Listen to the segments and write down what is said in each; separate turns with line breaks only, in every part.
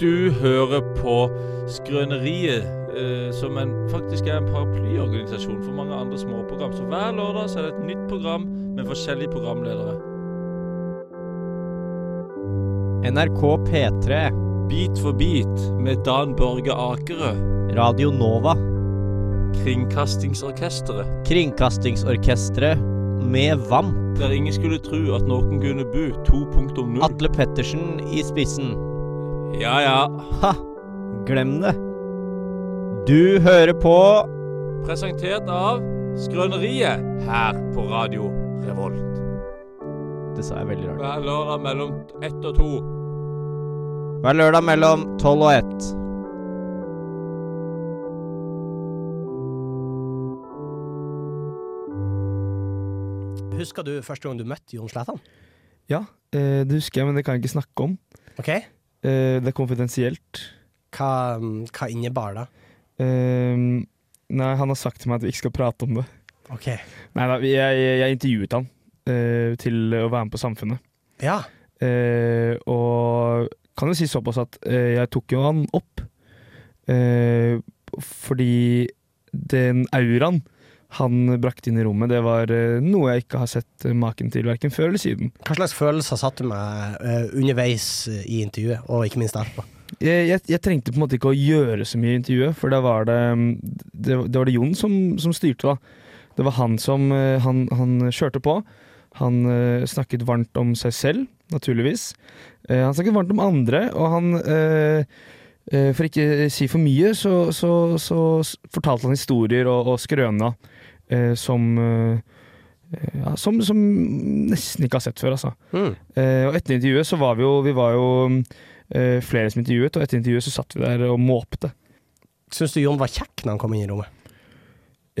Du hører på Skrøneriet, eh, som en, faktisk er en paraplyorganisasjon for mange andre småprogram. Så hver lørdag så er det et nytt program med forskjellige programledere.
NRK P3,
Bit for bit med Dan Børge Akerø,
Radio Nova,
Kringkastingsorkesteret.
Kringkastingsorkestret med VAMP,
Der ingen skulle tro at noen kunne bo 2.0.
Atle Pettersen i spissen.
Ja ja.
Ha! Glem det. Du hører på
Presentert av Skrøneriet her på Radio Revolt.
Det sa jeg veldig rart.
Hver lørdag mellom ett og to.
Hver lørdag mellom 12 og 1.
Husker du første gang du møtte Jon Slætan?
Ja, eh, det husker jeg, men det kan jeg ikke snakke om.
Ok?
Eh, det er konfidensielt.
Hva, hva innebar det?
Eh, nei, han har sagt til meg at vi ikke skal prate om det.
Ok.
Nei da, jeg, jeg intervjuet han eh, til å være med på Samfunnet.
Ja.
Eh, og kan jo si såpass at eh, jeg tok jo han opp. Eh, fordi den auraen han brakte inn i rommet, det var eh, noe jeg ikke har sett eh, maken til verken før eller siden.
Hva slags følelser satt du med eh, underveis i intervjuet, og ikke minst etterpå?
jeg, jeg, jeg trengte på en måte ikke å gjøre så mye i intervjuet, for da var det mm, Det, det var det Jon som, som styrte, da. Det var han som eh, Han, han kjørte på. Han eh, snakket varmt om seg selv, naturligvis. Eh, han snakket varmt om andre, og han eh, eh, For ikke si for mye, så, så, så s- fortalte han historier og, og skrøna eh, som eh, ja, som, som nesten ikke har sett før, altså.
Mm.
Eh, og etter intervjuet så var vi jo, vi var jo mm, eh, flere som intervjuet, og etter intervjuet så satt vi der og måpte.
Syns du Jon var kjekk når han kom inn i rommet?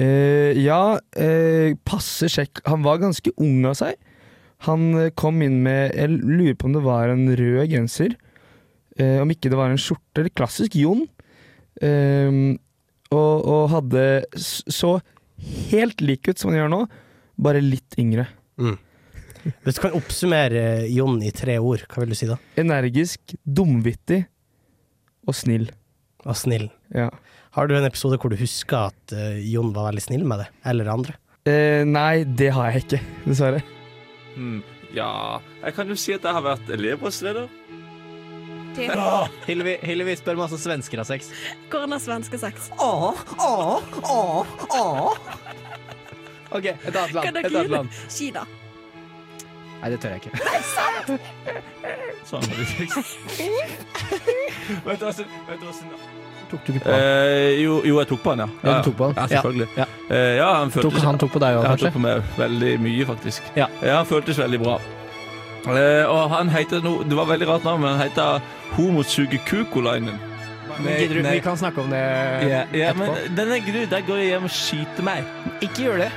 Eh, ja, eh, passe sjekk. Han var ganske ung av seg. Han eh, kom inn med Jeg lurer på om det var en rød genser. Eh, om ikke det var en skjorte. Eller klassisk Jon. Eh, og, og hadde s- så helt lik ut som han gjør nå, bare litt yngre.
Hvis du kan oppsummere eh, Jon i tre ord, hva vil du si da?
Energisk, dumvittig og snill.
Og snill.
Ja.
Har du en episode hvor du husker at eh, Jon var veldig snill med deg, eller andre?
Eh, nei, det har jeg ikke, dessverre.
Hmm, ja Jeg kan jo si at jeg har vært elevrådsleder.
Hillevi, spør masse svensker har sex.
Hvordan har svenske sex?
OK, et annet
Kan dere gjøre det? Kina.
Nei, det tør jeg ikke.
Sånn. vet du hvordan, vet du hvordan
Tok du ikke
Eh, jo, jo, jeg tok på han, ja.
Ja, du tok på han.
Ja, selvfølgelig.
Ja.
Eh, ja, han føltes
tok på deg
ja, han tok på meg veldig mye, faktisk.
Ja.
han føltes veldig bra. Eh, og han heter noe Det var veldig rart navn, men han heter Homosugekukolainen. Nei,
Gidder du-
nei.
Vi kan snakke om det
Ja, ja, men
etterpå.
denne gru, der går jeg hjem og skyter meg.
Ikke gjør det.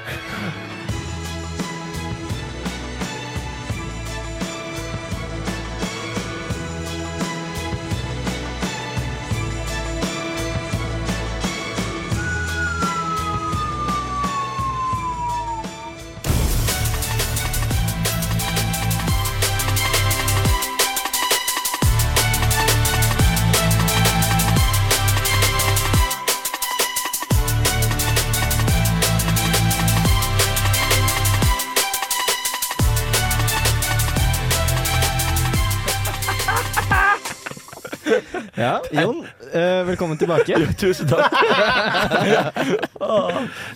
Ja, Jon, eh, velkommen tilbake.
Tusen takk.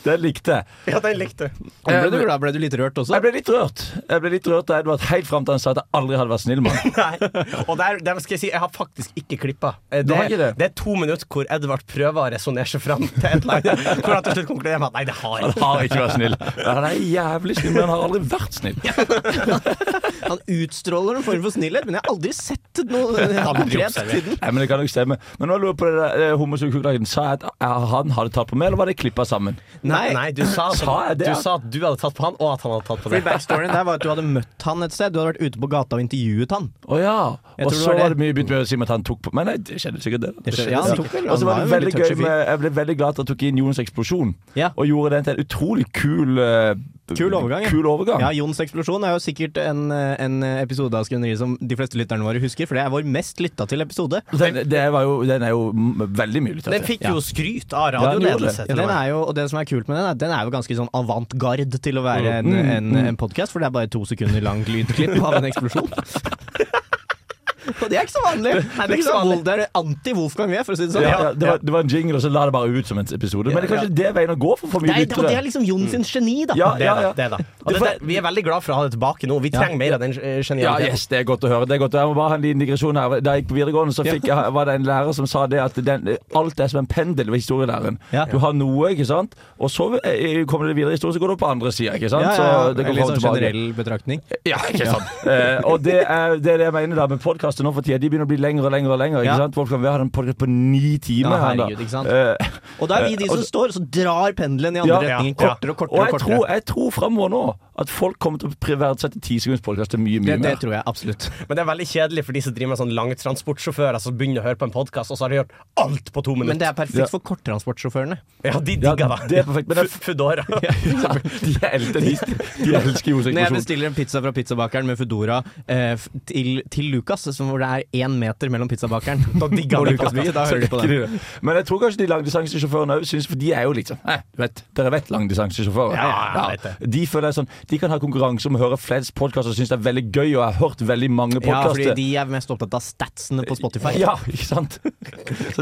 Den likte jeg.
Ja, den likte du.
Ble du glad? Ble du litt rørt også?
Jeg ble litt rørt Jeg ble litt rørt da Edvard helt fram til han sa at jeg aldri hadde vært snill med han.
Nei. Og der, der skal jeg si, jeg har faktisk ikke klippa. Eh,
Du har ikke det?
det er to minutter hvor Edvard prøver å resonnere seg fram til et eller annet, hvor han til slutt konkluderer med at nei, det har jeg
Han
ikke.
har ikke vært snill. Han er jævlig snill, men han har aldri vært snill.
Han utstråler en form for snillhet, men jeg har aldri sett noe
konkret
konkret
siden.
siden.
Nei, men Det kan nok stemme. Men nå lurer jeg på det der eh, homosugekukelagen. Sa jeg at eh, han hadde tatt på meg, eller var det klippa sammen?
Nei, nei du, sa at,
Sa jeg det?
du sa at du hadde tatt på han, og at han hadde tatt på
Fordi
deg.
Backstoryen der var at du hadde møtt han et sted. Du hadde vært ute på gata og intervjuet han.
Å ja.
Jeg
Og
tror det
så
var
var
det.
det mye begynt med å si at han tok på Men nei, det skjedde sikkert det. da.
Det skjedde,
Det
ja, han
sikkert.
tok vel-
Og så var
han
det
var jo
veldig gøy
veldig touchy
med Jeg ble veldig glad at jeg tok inn Jons eksplosjon,
Ja.
og gjorde den til en utrolig kul eh,
Kul overgang, ja.
Kul overgang.
Ja, Jons eksplosjon er jo sikkert en, en episode av Skrøneriet som de fleste lytterne våre husker, for det er vår mest lytta til episode.
Den, det var jo, den er jo m- veldig mye lyttet
Den
til.
fikk jo skryt av
Ja, den gjorde
radioledelse.
det.
Den er jo, og det som er kult med den, er at den er jo ganske sånn avantgarde til å være en, en, en podkast, for det er bare to sekunder langt lydklipp av en eksplosjon. Og det er ikke så vanlig! det er ikke
Liksom
så vanlig. Det er anti-Wolfgang vi er, for å si det sånn.
Ja, ja, det, var, det var en jingle, og så la det bare ut som en episode. Men det er kanskje det er veien å gå for for mye
Nei, det,
lyttere.
er liksom Jon sin geni, da.
Ja,
Det
ja,
er
ja.
det, det er det. Og det, der- vi er veldig glad for å ha det tilbake nå. Vi trenger mer av den eh,
Ja,
genialiteten.
yes, Det er godt å høre. det er godt å høre. Jeg må bare ha en liten digresjon her. Da jeg gikk på videregående, så fikk jeg, var det en lærer som sa det at den, alt er som en pendel ved historielæren.
Ja.
Du har noe, ikke sant, og så eh, kommer det videre i historien, så går det opp på andre sida, ikke
Ja,
sant.
ja,
Så det
En
går
litt sånn
fram og tilbake.
generell betraktning.
Ja, ikke sant. Eh, og det er, det er det jeg mener da med podkaster nå for tida. De begynner å bli lengre og lengre. og lengre, ikke
Ja.
sant? Folk kan være en podkast på ni
Ja,
timer. her da.
herregud, ikke sant?
Eh,
Og da er vi de som står, og så drar pendelen i andre
Ja, ja.
retningen kortere og
og
kortere.
jeg
og
tror,
kortere.
jeg tror fremover nå at folk kommer til å pri- verdsette ti sekunders podkaster mye, mye
Det, det
mer.
tror jeg absolutt.
Men det er veldig kjedelig for de som driver med sånn langtransportsjåfører som begynner å høre på en podkast, og så har de gjort alt på to
Men
minutter.
det er perfekt for korttransportsjåførene.
Ja, de digger
Ja, det er perfekt, men det er-
F- Foodora.
de, elsker, de, de elsker jo
Når jeg
seksjon.
bestiller en pizza fra pizzabakeren med Foodora eh, f- til, til Lukas, som hvor det er én meter mellom pizzabakeren og
de
Lukas Bye, da hører de på det.
Men jeg tror kanskje de langdistansesjåførene òg syns For de er jo liksom eh, du vet, Dere vet langdistansesjåfører.
Ja, ja, ja, jeg vet
De føler sånn De kan ha konkurranse om å høre flest podkaster og syns det er veldig gøy, og jeg har hørt veldig mange
Ja, fordi
podkaster.
de er mest opptatt av statsene på Spotify.
Ja, ikke sant? Så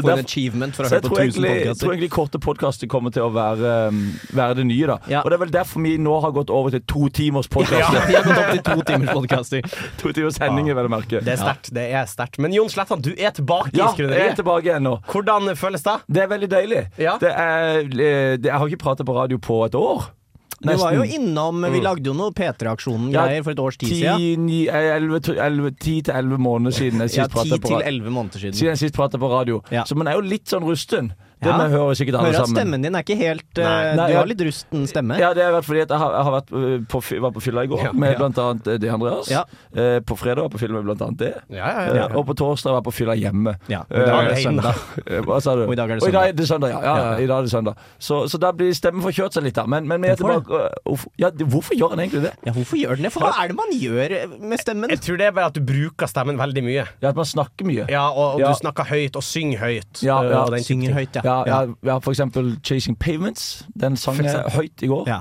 For en
derfor-
achievement for å
så jeg
høre på 1000
tror egentlig, jeg tror
podkaster.
egentlig korte podkaster kommer til å være, um, være det nye. da
Ja.
Og det er vel derfor vi nå har gått over til to timers podkaster.
De har gått opp til to timers podkaster.
to timers hendinger, vel å merke.
Det er sterkt. det er sterkt Men Jon Slettan, du er tilbake i
Ja, jeg er
skrøneriet.
tilbake igjen nå.
Hvordan føles det?
Det er veldig deilig.
Ja.
Det er, eh, det, jeg har ikke pratet på radio på et år.
Du var jo innom
Mm.
Vi lagde jo noe P3-aksjonen-greier for et års tid siden.
eh, 10 til 11 måneder siden jeg sist
Ja, ti
pratet på
til
radio.
elleve måneder siden.
Siden jeg sist pratet på radio.
Ja.
Så man er jo litt sånn rusten. Det
Ja.
må jeg høre sikkert alle
Hører at
sammen.
stemmen din er ikke helt eh,
Nei,
Du
ja.
har litt rusten stemme.
Ja, det har vært fordi at jeg har, jeg har vært øh, på, fy- var på fylla i går
Ja.
med
Ja.
blant annet øh, det Andreas.
Ja.
Eh, På fredag var jeg på fylla med blant annet det.
Ja, ja,
Eh, Og på torsdag var jeg på fylla hjemme.
Ja,
Eh,
i dag er det
alene.
søndag.
Eh, Hva sa du?
Og i dag er det
Og i
søndag.
dag er det søndag, ja. ja, ja, i dag er det søndag. Så, så da blir stemmen forkjørt seg litt, da. Men, men vi er
Hvorfor
tilbake øh, hvorfor- ja, det- Hvorfor gjør han egentlig det?
Ja, hvorfor gjør den det? For hva er det man gjør eh, med stemmen?
Jeg tror det er bare at du bruker stemmen veldig mye.
Ja, At man snakker mye.
Ja, Og, og
Ja.
du snakker høyt, og synger høyt.
Ja,
øh,
ja.
og den type
Synger
ting.
høyt, ja.
Ja, ja, ja, for eksempel 'Chasing Pavements'. Den sang
For
jeg
eksempel.
høyt i går.
Ja.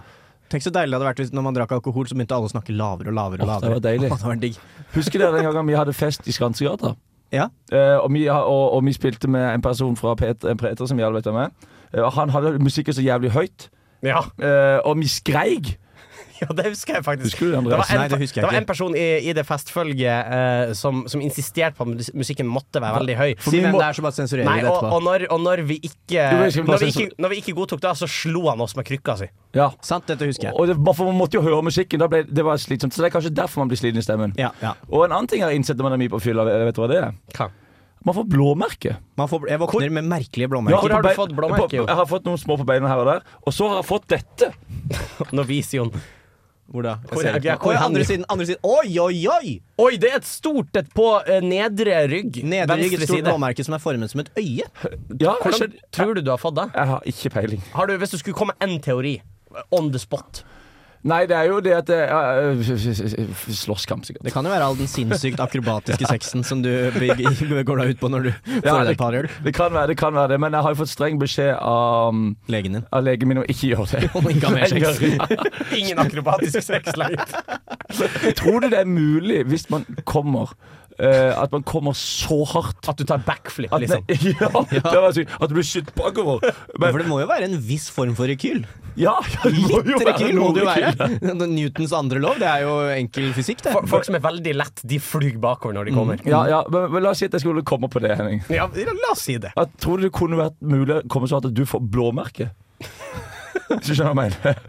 Tenk så deilig det hadde vært hvis når man drakk alkohol, så begynte alle å snakke lavere og lavere. og
Åh, det
lavere.
var deilig.
Åh, det var digg.
Husker dere den gangen vi hadde fest i Skransegata?
Ja.
Eh, og, vi, og, og vi spilte med en person fra Peter, Peter som vi alle vet hvem er. Eh, og han hadde musikken så jævlig høyt,
Ja.
eh, og vi skreik.
ja, det husker jeg faktisk.
Husker du det,
Det var
Andreas?
en,
Nei, det husker jeg
var
ikke.
en person i, i det festfølget eh, som, som insisterte på at mus- musikken måtte være veldig høy.
Si hvem
må-
det er, så bare sensurerer
Nei,
vi det
og,
etterpå.
og, når, og når, vi ikke,
Jo, men skal vi bare
når, vi
si
ikke, når vi ikke godtok det, så slo han oss med krykka si.
Ja.
Sant, dette husker jeg.
Og det, bare for man måtte jo høre musikken. Da ble, det var slitsomt. Så det er kanskje derfor man blir sliten i stemmen.
Ja, ja.
Og en annen ting jeg har innsett når man er mye på fylla, vet vet du hva det er?
Hva?
Man får blåmerke.
Man får, jeg våkner med merkelige
Ja,
blåmerker.
på
har du
bein-
fått blåmerke,
På,
jo?
jeg har fått noen små på beina her og der. Og så har jeg fått dette.
Nå viser Jon.
Hvor da? Jeg
Hvor
ser
er-
det ikke.
hvor er
Oi,
han?
andre siden, andre siden. Oi, oi, oi!
Oi, det er et stort et på eh, nedre rygg.
Nedre rygg,
venstre
et stort
side.
blåmerke som er formet som et øye.
Ja, jeg,
Hvordan
skjønner-
tror du du har fått det?
jeg har ikke peiling.
Har du, hvis du skulle komme med én teori on the spot
Nei, det er jo det at det er- Slåsskamp, sikkert.
Det kan jo være all den sinnssykt akrobatiske sexen som du beg- går deg ut på når du får i deg et par øl.
Det kan være det, kan være det men jeg har jo fått streng beskjed av, mm,
Legen din.
av legen min om ikke gjøre det.
Om ikke ha mer
Jeg
sex.
gjør- ja.
Ingen akrobatisk sex lenger.
Tror du det er mulig, hvis man kommer, eh, at man kommer så hardt
At du tar backflip,
at,
liksom.
ja, det var sykt. at du blir skutt bakover?
Ja,
Men,
For det må jo være en viss form for rekyl.
ja, ja, det må jo
Litt rekyl må det jo
noe rekyl.
være. Newtons andre lov, det er jo enkel fysikk, det.
Fo- Folk som er veldig lett, de flyr bakover når de kommer.
Ja, ja, men, men la oss si at jeg skulle komme på det, Henning.
Ja, la oss si det.
At, tror du det kunne vært mulig å komme så hardt at du får blåmerke? Hvis du skjønner hva jeg mener.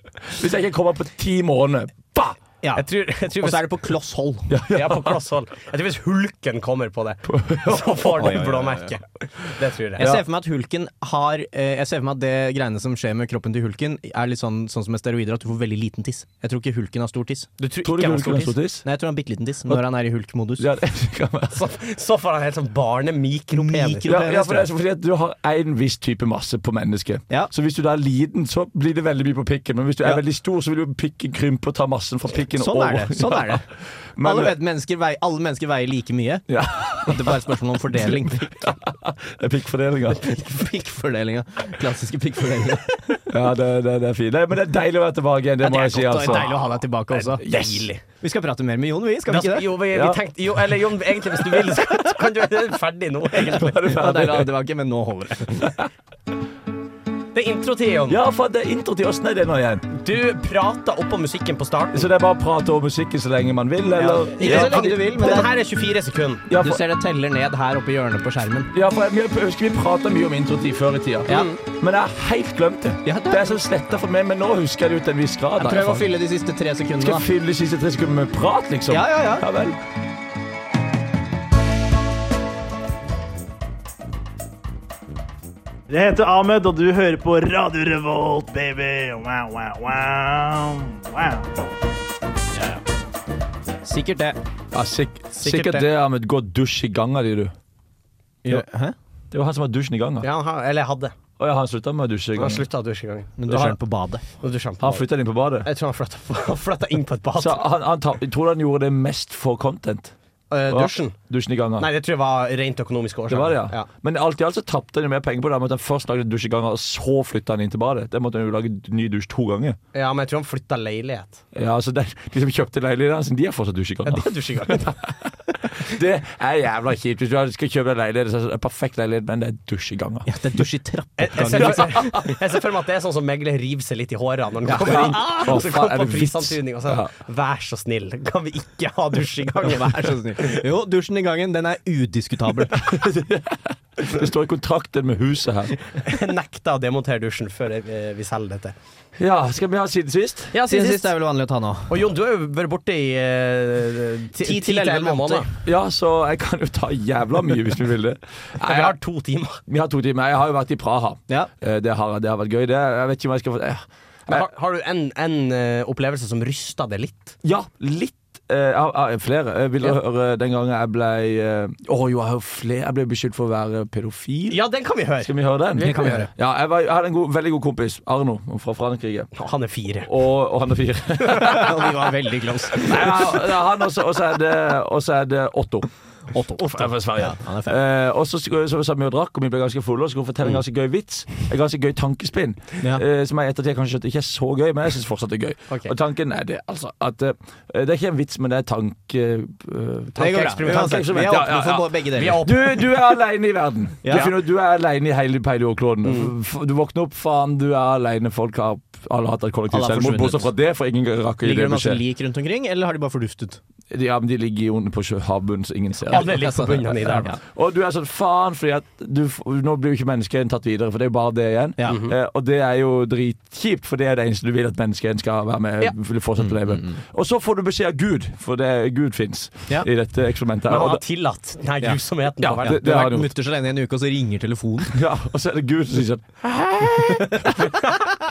Hvis jeg ikke kommer på ti måneder, bah!
Ja.
Jeg tror, jeg tror
Og
hvis,
så er det på kloss hold.
ja, på kloss hold. Jeg tror hvis hulken kommer på det, så får
Oi, oi,
den
oi, oi.
blåmerke. Det tror jeg.
Jeg ser for meg at hulken har eh, Jeg ser for meg at det greiene som skjer med kroppen til hulken, er litt sånn, sånn som med steroider, at du får veldig liten tiss. Jeg tror ikke hulken har stor tiss.
Du tror
Tror du
ikke han
ikke
skal
hun stor tiss?
Nei, jeg tror han har bitte liten tiss når han er i hulkmodus.
Ja, det kan være.
Så, så får han helt sånn barne-mikropenis.
Mikro-
Ja, ja, for det er så fordi at du har en viss type masse på mennesket.
Ja.
Så hvis du da er liten, så blir det veldig mye på pikken. Men hvis du er
Ja.
veldig stor, så vil jo pikken krympe og ta massen fra pikken
Sånn er
over.
det. sånn er det
Men-
alle, vet, mennesker veier, alle mennesker veier like mye.
Ja.
Det er bare et spørsmål om fordeling.
Det er Pikkfordelinga.
Pikkfordelinga. Klassiske pikkfordelinga.
Ja, det, det, det er fint. Nei, men det er deilig å være tilbake igjen, det,
Ja, det
må
er
jeg si,
godt, og
altså.
Deilig å ha deg tilbake også.
Yes.
Deilig. Vi skal prate mer med Jon, vi. Skal
Da
vi ikke
skal-
det?
Jo, vi, vi
Ja.
tenkte, jo, eller Jon, egentlig hvis du vil, så kan- kan du det er ferdig nå. egentlig.
Er du
Det var
ferdig?
deilig å ha deg tilbake, men nå holder det.
Det er introtid, Jon.
Ja, for det er intro til åssen er det nå igjen?
Du prater oppå musikken på starten.
Så det er bare å prate over musikken så lenge man vil, eller?
Ikke så lenge du vil, men det
Den
er-
her er 24 sekunder.
Ja,
Du
for,
ser det teller ned her oppe i hjørnet på skjermen.
ja, for jeg, jeg husker vi prata mye om introtid før i tida,
Ja.
men jeg har helt glemt det.
Ja, det-
det er så sletta for meg, men nå husker jeg det jo til en viss grad. i hvert
Prøv å
fall.
fylle de siste tre sekundene,
Skal
da.
jeg fylle de siste tre sekundene med prat, liksom?
Ja, ja, ja.
Ja vel.
Jeg heter Ahmed, og du hører på Radio Revolt, baby! Wow, wow, wow. wow.
Sikkert det.
Ja, sik sikkert
Sikkert
det,
det.
Ahmed. Gå og dusj i ganga di, du.
Jo. Hæ?
Det var han som var dusjen i ganga.
Ja, han har- eller jeg hadde.
Å ja, han slutta med å dusje i
Han
ganga.
slutta å dusje i gangen.
Men du skjønner på badet.
Nå dusjer han på
Han
badet.
flytta inn på badet.
Jeg tror han flytta, han flytta inn på et bad.
Så han, han ta, jeg tror han gjorde det mest for content.
Eh,
Hva?
dusjen?
Dusjen i ganga.
Nei, det tror jeg var rent økonomisk årsak.
Det var det, ja. Men alt i alt så tapte han jo mer penger på det med at han først lagde dusj i ganga, og så flytta han inn til badet. Det måtte han jo lage ny dusj to ganger.
ja. men jeg tror han flytta leilighet.
Ja, så det, De som kjøpte leiligheten hans, de har fortsatt dusj i
Ja,
ganga.
det er dusj i gangen.
Det er jævla kjipt. Hvis du skal kjøpe deg leilighet, så er det en perfekt leilighet, men det er dusj i ganga.
Ja, det er dusj i
Jeg, jeg,
trappeoppgangen.
ser for, jeg ser for meg at det er sånn som megler river seg litt i hårene når han kommer inn.
Å,
Så
faen,
kommer
er
på
det vits?
prisantydning og så
Ja.
Vær så snill, kan vi ikke ha dusj i gangen?
Vær så snill. Jo, dusjen i gangen, den er udiskutabel.
Det står i kontrakten med huset her.
Jeg nekter å demontere dusjen før eh, vi selger dette.
Ja, skal vi ha siden sist?
Ja,
Siden sist er vel vanlig å ta nå.
Og Jon, du har jo vært borte i eh, ti-
10 til
ti til
11
11
måneder.
måneder.
Ja, så jeg kan jo ta jævla mye hvis vi vil det.
Ja, vi har to timer.
Vi har to timer. Jeg har jo vært i Praha.
Ja.
Eh, Det har, det har vært gøy. Det, jeg vet ikke om jeg skal få eh,
Men har, har du en, en eh, opplevelse som rysta deg litt?
Ja, litt. eh, Jeg har- jeg har flere. Eh, Vil dere høre den gangen jeg ble eh, Å jo, jeg har jo flere. Jeg ble beskyldt for å være pedofil.
Ja, den kan vi høre.
Skal vi høre den?
Det kan vi gjøre.
Ja, jeg, var, jeg hadde en god, veldig god kompis, Arno, fra Frankrike.
Han er fire.
Og, og han er fire.
Og vi var veldig close.
Nei, han- han også, og så er det- og så er det Otto. Otto. Fra Sverige.
Han er fem.
Eh, og så, skulle- så satt vi og drakk, og vi ble ganske fulle. Og så skulle hun fortelle en ganske gøy vits. En ganske gøy tankespinn.
Ja.
Eh, som jeg i ettertid kanskje skjønte ikke er så gøy, men jeg syns fortsatt det er gøy.
Ok.
Og tanken er det, altså. At, eh, det er ikke en vits, men det er tanke... eh,
Det går bra.
tankeeksperiment.
Uansett, Vi er
Ja, ja,
åpne for
ja.
bo- begge
Vi er
deler.
opp.
Du, du er aleine i verden.
Ja.
Du, finner, ut, du er aleine i hele peiljordkloden. F- Du våkner opp, faen, du er aleine. Folk har alle har hatt et kollektivt
Alle har forsvunnet.
selvmord, bortsett fra det, for ingen rakk å gi
Ligger
det
det masse
beskjed.
lik rundt omkring, eller har de bare forduftet?
Ja, men de ligger jo under på sjø- havbunnen, så ingen ser
Alle ligger på bunnen i altså. der.
Ja.
Og du er sånn faen, fordi at du, f- nå blir jo ikke menneskeheten tatt videre, for det er jo bare det igjen.
Ja.
Eh, og det er jo dritkjipt, for det er det eneste du vil at menneskeheten skal være med
Ja.
vil fortsette å
Mhm.
leve. Og så får du beskjed av Gud, for det, Gud fins
Ja.
i dette eksperimentet.
Men
her.
han
Og,
har tillatt denne
Ja.
grusomheten.
Ja,
på verden.
det-
Du har
har
vært
han gjort.
mutters alene i en uke, og så ringer telefonen.
da, ja, og så er det Gud som sier sånn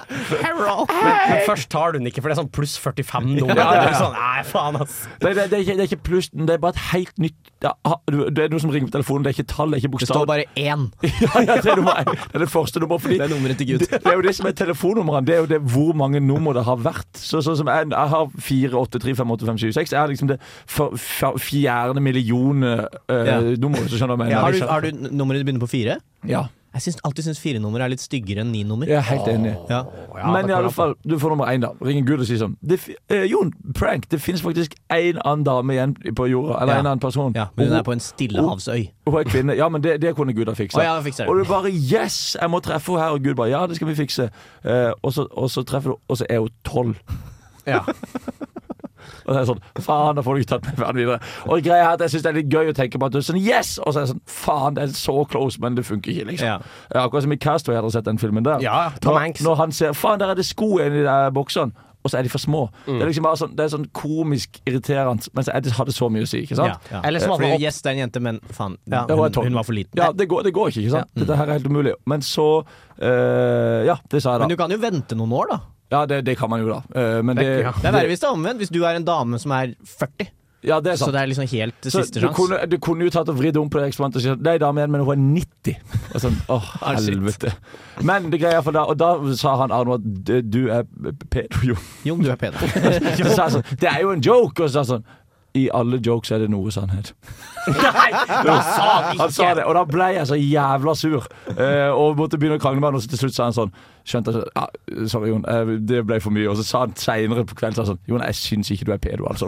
Men først tar du den ikke, for det er sånn pluss 45-nummer.
Ja, ja, ja.
Sånn, nei, faen, ass.
det, det, det, er ikke, det er ikke pluss, det er bare et helt nytt ja, ha- du- Det er noe som ringer på telefonen, det er ikke tall, det er ikke
Det står
bokstav.
bare én.
ja, ja, det, er nummer én. det er det første nummeret. Fordi
Det er nummeret til Gud.
Det, det er jo det som er telefonnummerne. Det er jo det hvor mange nummer det har vært. Så, sånn som jeg, jeg har 4, 8, 3, 5, 8, 5, 7, 6. Jeg har liksom det for, for, fjerde millioner eh,
Ja.
nummeret, så skjønner du hva
Har du,
jeg mener.
har du n- nummeret ditt begynner på fire?
Ja,
Jeg syns alltid syns firenummer er litt styggere enn ni-nummer.
jeg er helt enig.
Ja.
Men i alle fall, du får nummer én, da. Ringer Gud og sier sånn det, fi- eh, Jon, prank. Det finnes faktisk én annen dame igjen på jorda. Eller
Ja.
en annen person.
Ja, men hun
Og
er på en stillehavsøy.
Hun er kvinne. Ja, men det, det kunne Gud ha fiksa.
Å, ja, fikser det.
og du bare Yes, jeg må treffe henne her. Og Gud bare Ja, det skal vi fikse. Eh, og, så, og så treffer du, og så er hun tolv.
Ja.
Og det er sånn Faen, da får du ikke tatt med verden videre. Og greia er at jeg syns det er litt gøy å tenke på at du er sånn Yes! Og så er det sånn Faen, det er så close, men det funker ikke, liksom.
Ja.
Ja, akkurat som i Castaway, har dere sett den filmen der?
Ja, Tom
Når-
Hanks.
Når han ser Faen, der er det sko inni de der boksene. og så er de for små.
Mm.
Det er liksom bare sånn, det er sånn komisk irriterende, men så er det, har det så mye å si. ikke sant? Eh,
Ja. Eller som at
Fordi-
man, Yes, det er en jente, men faen,
Ja.
hun, hun var for liten.
Ja, det går, det går ikke, ikke
Mm.
sant? Dette her er helt umulig. Men så eh, Ja, det sa jeg,
Men
da.
du kan jo vente noen år, da.
Ja, det, det kan man jo, da. Eh, men det,
Det er verre hvis det er omvendt. Hvis du er en dame som er 40,
Ja, det er
så
sant.
det er liksom helt
Så
siste
du,
sjanse.
kunne, du kunne jo tatt og vridd om på det eksperimentet og sagt Nei, dame igjen, men hun er 90. Og sånn, åh,
Ah, shit.
helvete. Men det greia for da Og da sa han Arno at «D- du er pedo, jo.
Jon, du er pedo.
Så sa jeg sånn, det er jo en joke! Og så sa han sånn I alle jokes er det noe sannhet. Nei, han sa det Han sa det, og da ble jeg så jævla sur. Eh, og måtte begynne å krangle med han, og så til slutt sa han sånn Skjønte jeg sånn, ja, Sorry, Jon. eh, det ble for mye. Og så sa han seinere på kvelden sa han sånn Jon, jeg syns ikke du er pedo, altså.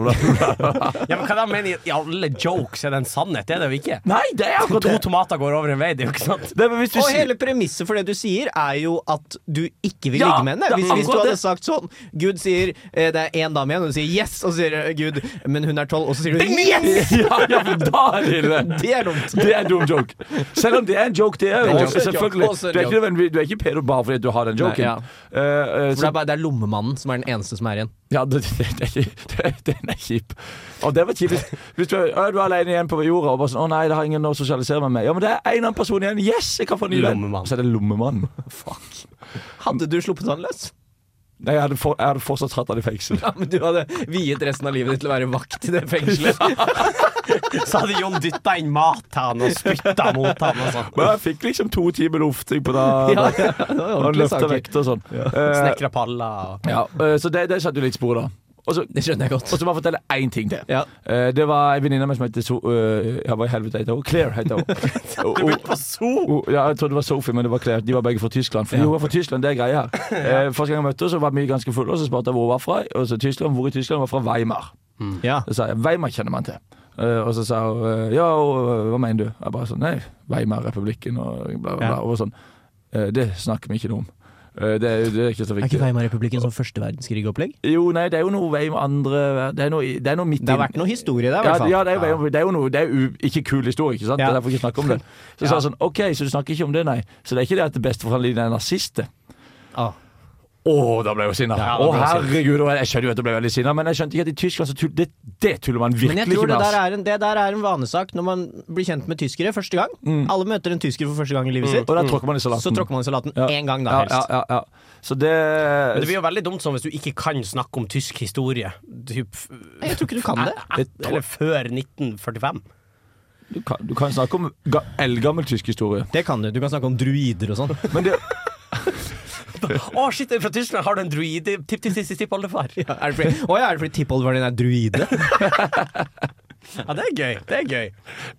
Ja, men hva da mener jeg? I alle jokes er det en sannhet? Det er det jo ikke.
Nei, det er akkurat
To
det!
tomater går over en vei, det er jo ikke sant?
det men hvis du
Og
sier-
hele premisset for det du sier, er jo at du ikke vil
Ja,
ligge med henne.
det er
Hvis, hvis du
akkurat
hadde
det.
sagt sånn Gud sier eh, det er én dame igjen, og du sier yes, og så sier eh, Gud men hun er tolv, og så sier du yes!
ja, ja, men da er det ille.
Det er dumt.
Det er en dum joke. Selv om det er en joke, det er
Det er en
jo
joke.
selvfølgelig.
Også en
Du er,
joke.
ikke, nødvendigvis- du er ikke pedo bare fordi du har den
Nei,
joken.
ja.
Eh, eh,
For det
så,
er, bare, det er lommemannen som er den eneste som er igjen.
ja, det, det, det, det, den er kjip. Og det var kjipt. Hvis du, er- å, du er alene igjen på jorda og bare sånn 'Å nei, det har ingen å sosialisere meg med.' Ja, men det er en annen person igjen. Yes, jeg kan få en ny venn.
Lommemann.
Så er det lommemannen.
Hadde du sluppet han løs?
Nei, jeg hadde, for, jeg hadde fortsatt hatt han i fengsel.
Ja, men du hadde viet resten av livet ditt til å være vakt i det fengselet.
Så hadde Jon dytta inn mat til han og spytta mot han og sånn.
Men jeg fikk liksom to timer lufting på da.
Ja,
da.
ja, det var
Og
ordentlige
løfta
saker.
vekter og sånn. Eh,
Snekra paller og
ja, eh, så det, det satte jo litt spor, da. Og så,
Det skjønner jeg
og
godt.
så må jeg fortelle én ting til.
Ja.
Eh, Det var en venninne av meg som heter so eh, ja, Hva i helvete heter hun? Claire heter hun. Og- og-
på so!
og- Oh, ja, jeg trodde det var Sophie, men det var Claire. De var begge fra Tyskland. Fordi hun var fra Tyskland, det er greia her. Eh, Første gang jeg møtte henne, så var vi ganske fulle, og så spurte jeg hvor hun var fra. Og så Tyskland, hvor i Tyskland? Hun var fra Weimar.
Ja.
Så sa jeg Weimar kjenner man til. Eh, og så sa hun eh, ja, og, eh, hva mener du? Jeg bare sånn nei, Weimar-republikken og bla, bla, bla.
Ja.
Og sånn eh, det snakker vi ikke noe om. Eh, det, er- det er ikke så
Er
viktig.
ikke Weimar-republikken sånn første verdenskrig-opplegg?
jo, nei, det er jo noe Weimar andre Det er noe, i- det er noe midt
Det har
inn-
vært noe historie der, i hvert
ja,
fall.
ja, det er jo, det er jo noe Det er jo u- ikke kul historie, ikke sant?
Ja.
Det er derfor ikke snakke om det. Så sa jeg sånn OK, så du snakker ikke om det, nei. Så det er ikke det at bestefaren din er nazist? det.
Ah.
Å, da ble jeg jo sinna.
Ja, da
Å,
ble jeg
herregud. og Jeg jeg skjønner jo at jeg ble veldig sinna, men jeg skjønte ikke at i Tyskland så tull, det, det tuller man
Men
virkelig
jeg tror
ikke
det
med.
der,
ass.
er en, det der er en vanesak når man blir kjent med tyskere første gang. Alle møter en tysker for første gang i livet sitt.
Og da tråkker man i salaten.
Så Mm. tråkker man i salaten
Ja.
én gang, da
ja,
helst.
ja, ja, ja. Så det
Men det blir jo veldig dumt sånn hvis du ikke kan snakke om tysk historie. Typ, f-
Nei, Jeg tror ikke du kan det.
et, eller før 1945.
du, kan, du kan snakke om ga, eldgammel tysk historie.
Det kan du. Du kan snakke om druider og sånn.
Men det,
Å, shit, jeg er fra Tyskland! Har du en druide? Tipp, tipp, tipp, tipp, tipp, oldefar. Ja,
Er det fordi, Å ja, er det fordi tippoldefaren din er druide?
det er gøy. Det er gøy.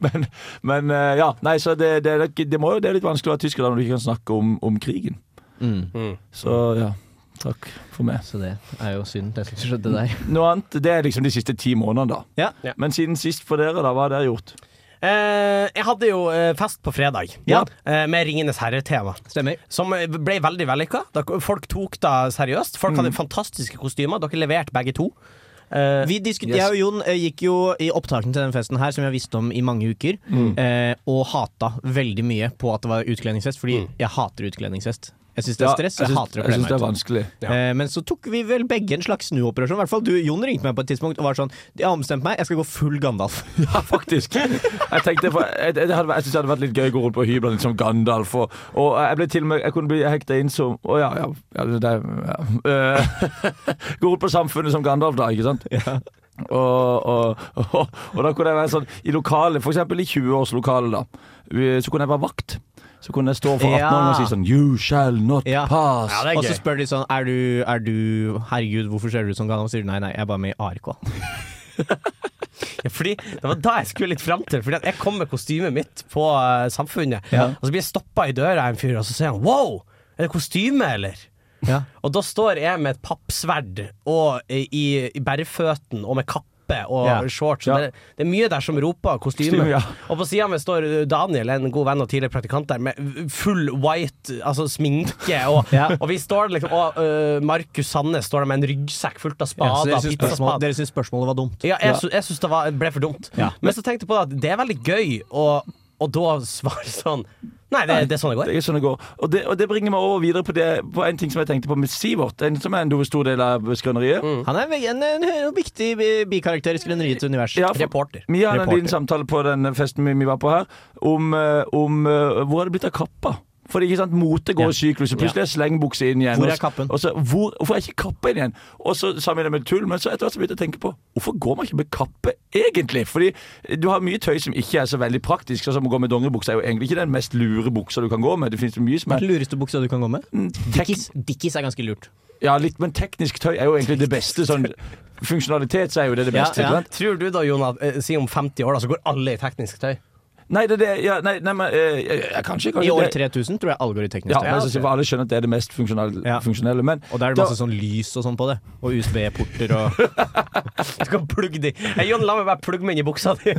men, men eh, ja. Nei, så det, det, det, det, må, jo- det er litt vanskelig å være tysker da når du ikke kan snakke om, om krigen.
Mm.
Så ja. Takk for meg.
Så det er jo synd. Det skulle skjedd det der.
Noe annet, det er liksom de siste ti månedene da
Ja.
Ja.
Men siden sist for dere da, hva har dere gjort?
Eh, jeg hadde jo eh, fest på fredag
Ja.
eh, med Ringenes herre-tema.
Stemmer.
Som eh, ble veldig vellykka. Dere- Folk tok det seriøst. Folk
Mm.
hadde fantastiske kostymer. Dere leverte begge to. Eh,
Vi diskuter, Jeg og Jon eh, gikk jo i opptakene til denne festen her, som jeg visste om i mange uker,
Mm.
eh, og hata veldig mye på at det var utkledningsfest, fordi
Mm.
jeg hater utkledningsfest. Jeg syns det er stress, jeg,
synes-
hater å
jeg
kle
synes
meg
det
ut.
er vanskelig
Ja.
Eh, Men så tok vi vel begge en slags snuoperasjon. I hvert fall du, Jon ringte meg på et tidspunkt og var sånn Jeg har ombestemt meg, jeg skal gå full Gandalf.
Ja, faktisk Jeg tenkte, for, jeg, jeg, hadde, jeg synes det hadde vært litt gøy å gå rundt på hybelen litt som Gandalf Og, og jeg ble til og med, jeg kunne bli hektet inn som Å ja, ja, ja, det, det- ja. Eh, Gå rundt på samfunnet som Gandalf da, ikke sant? Og, og, og, og da kunne jeg være sånn I lokalet, for eksempel i 20-årslokalet da vi- Så kunne jeg være vakt Så kunne jeg stå for 18 år og si sånn You shall not
Ja.
pass
Ja, det er
Og så
gøy.
spør de sånn er du, er du Herregud, hvorfor ser du ut som Gandalf? Sier du nei, nei, jeg er bare med i ARK.
Ja, Fordi Det var da jeg skulle litt fram til. Fordi at Jeg kom med kostymet mitt på eh, Samfunnet, og så blir jeg stoppa i døra av en fyr, og så sier han 'wow, er det kostyme, eller?'
Ja.
Og da står jeg med et pappsverd og i, i bæreføtten og med kappe og
Ja.
shorts. og Det, det er mye der som roper kostyme.
Kostyme, ja.
Og på sida mi står Daniel, en god venn og tidligere praktikant der, med full white altså sminke. Og,
Ja.
og vi står liksom Og øh, Markus Sandnes står der med en ryggsekk fullt av
Ja, så dere
spader. Ja,
syns spørsmålet, dere syns spørsmålet var dumt?
ja, jeg, sy jeg syns det var, ble for dumt.
Ja.
Men så tenkte jeg på det at det er veldig gøy å og da svare sånn Nei, det, det er sånn det går.
Det er sånn det går. Og det, og det bringer meg over videre på, det, på en ting som jeg tenkte på med Sivert, en, som er en stor del av skrøneriet.
Mm.
Han er en, en, en, en viktig bi- bikarakter i Skrøneriets univers.
Ja, for-
Reporter.
Vi hadde en
Reporter.
liten samtale på den festen vi, vi var på her, om, eh, om eh, hvor er det blitt av kappa? For ikke sant, Mote går i syklus, og plutselig er slengbukse inn igjen.
Hvor er
og så-
kappen?
Og så, hvor, hvorfor er ikke kappa inn igjen? Og så sa vi det med tull, men så etter hvert så begynte jeg å tenke på hvorfor går man ikke med kappe egentlig? Fordi du har mye tøy som ikke er så veldig praktisk, sånn som å gå med dongeribukse er jo egentlig ikke den mest lure buksa du kan gå med. Det finnes jo mye som
Hva er
er
den lureste buksa du kan gå med?
tek
Dickies, Dickies er ganske lurt.
ja, litt, men teknisk tøy er jo egentlig det beste. Sånn, funksjonalitet så er jo det det
Ja,
beste.
ja.
ikke sant?
Tror du da, Jonas, eh, si om 50 år, da, så går alle i teknisk tøy?
Nei, det er det ja, Nei, nei men eh, ja, ja, kanskje, kanskje
I år
det-
3000 tror jeg alle går i teknisk
Ja,
tøy.
men så, så alle skjønner at det er det mest funksjonelle.
Ja.
funksjonelle men
Og da er det masse sånn lys og sånn på det. Og USB-porter og
Jeg skal plugge de. Hey, Jon, la meg bare plugge meg inn i buksa di.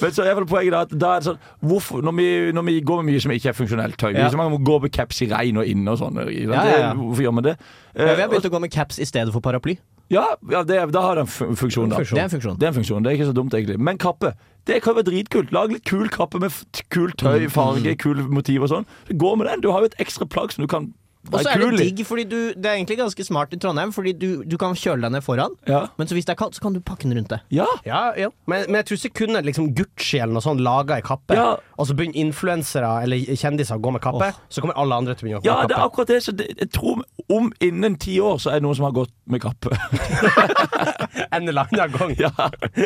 men så er vel poenget da at da er det sånn hvorfor, når, vi, når vi går med mye som ikke er funksjonelt tøy
Ja.
ja. Man må gå med caps i regn og inne og sånn. ikke sant?
Ja, ja, ja.
Det- Hvorfor gjør man det? Eh,
ja, Vi har begynt å gå med caps i stedet for paraply.
og- ja, ja det, er- da har det en fu- funksjon, da.
Det er en funksjon.
Det er en funksjon, det er ikke så dumt egentlig. Men kappe. Det kan være dritkult. Lag litt kul kappe med f- kul
Mm.
tøy, farge, kul motiv og sånn. Gå med den. Du har jo et ekstra plagg som du kan
Og så er det
kul i.
digg, fordi du Det er egentlig ganske smart i Trondheim, fordi du, du kan kjøle deg ned foran,
Ja.
men så hvis det er kaldt, så kan du pakke den rundt deg.
Ja.
Ja, ja. Men, men jeg tror ikke kun liksom Gucci eller noe sånt laga ei kappe,
Ja.
og så begynner influensere eller kjendiser å gå med kappe, så kommer alle andre til å begynne å gå med
Ja, det er
kappe.
akkurat det. Så det, jeg tror om innen ti år så er det noen som har gått med kappe.
En eller annen gang.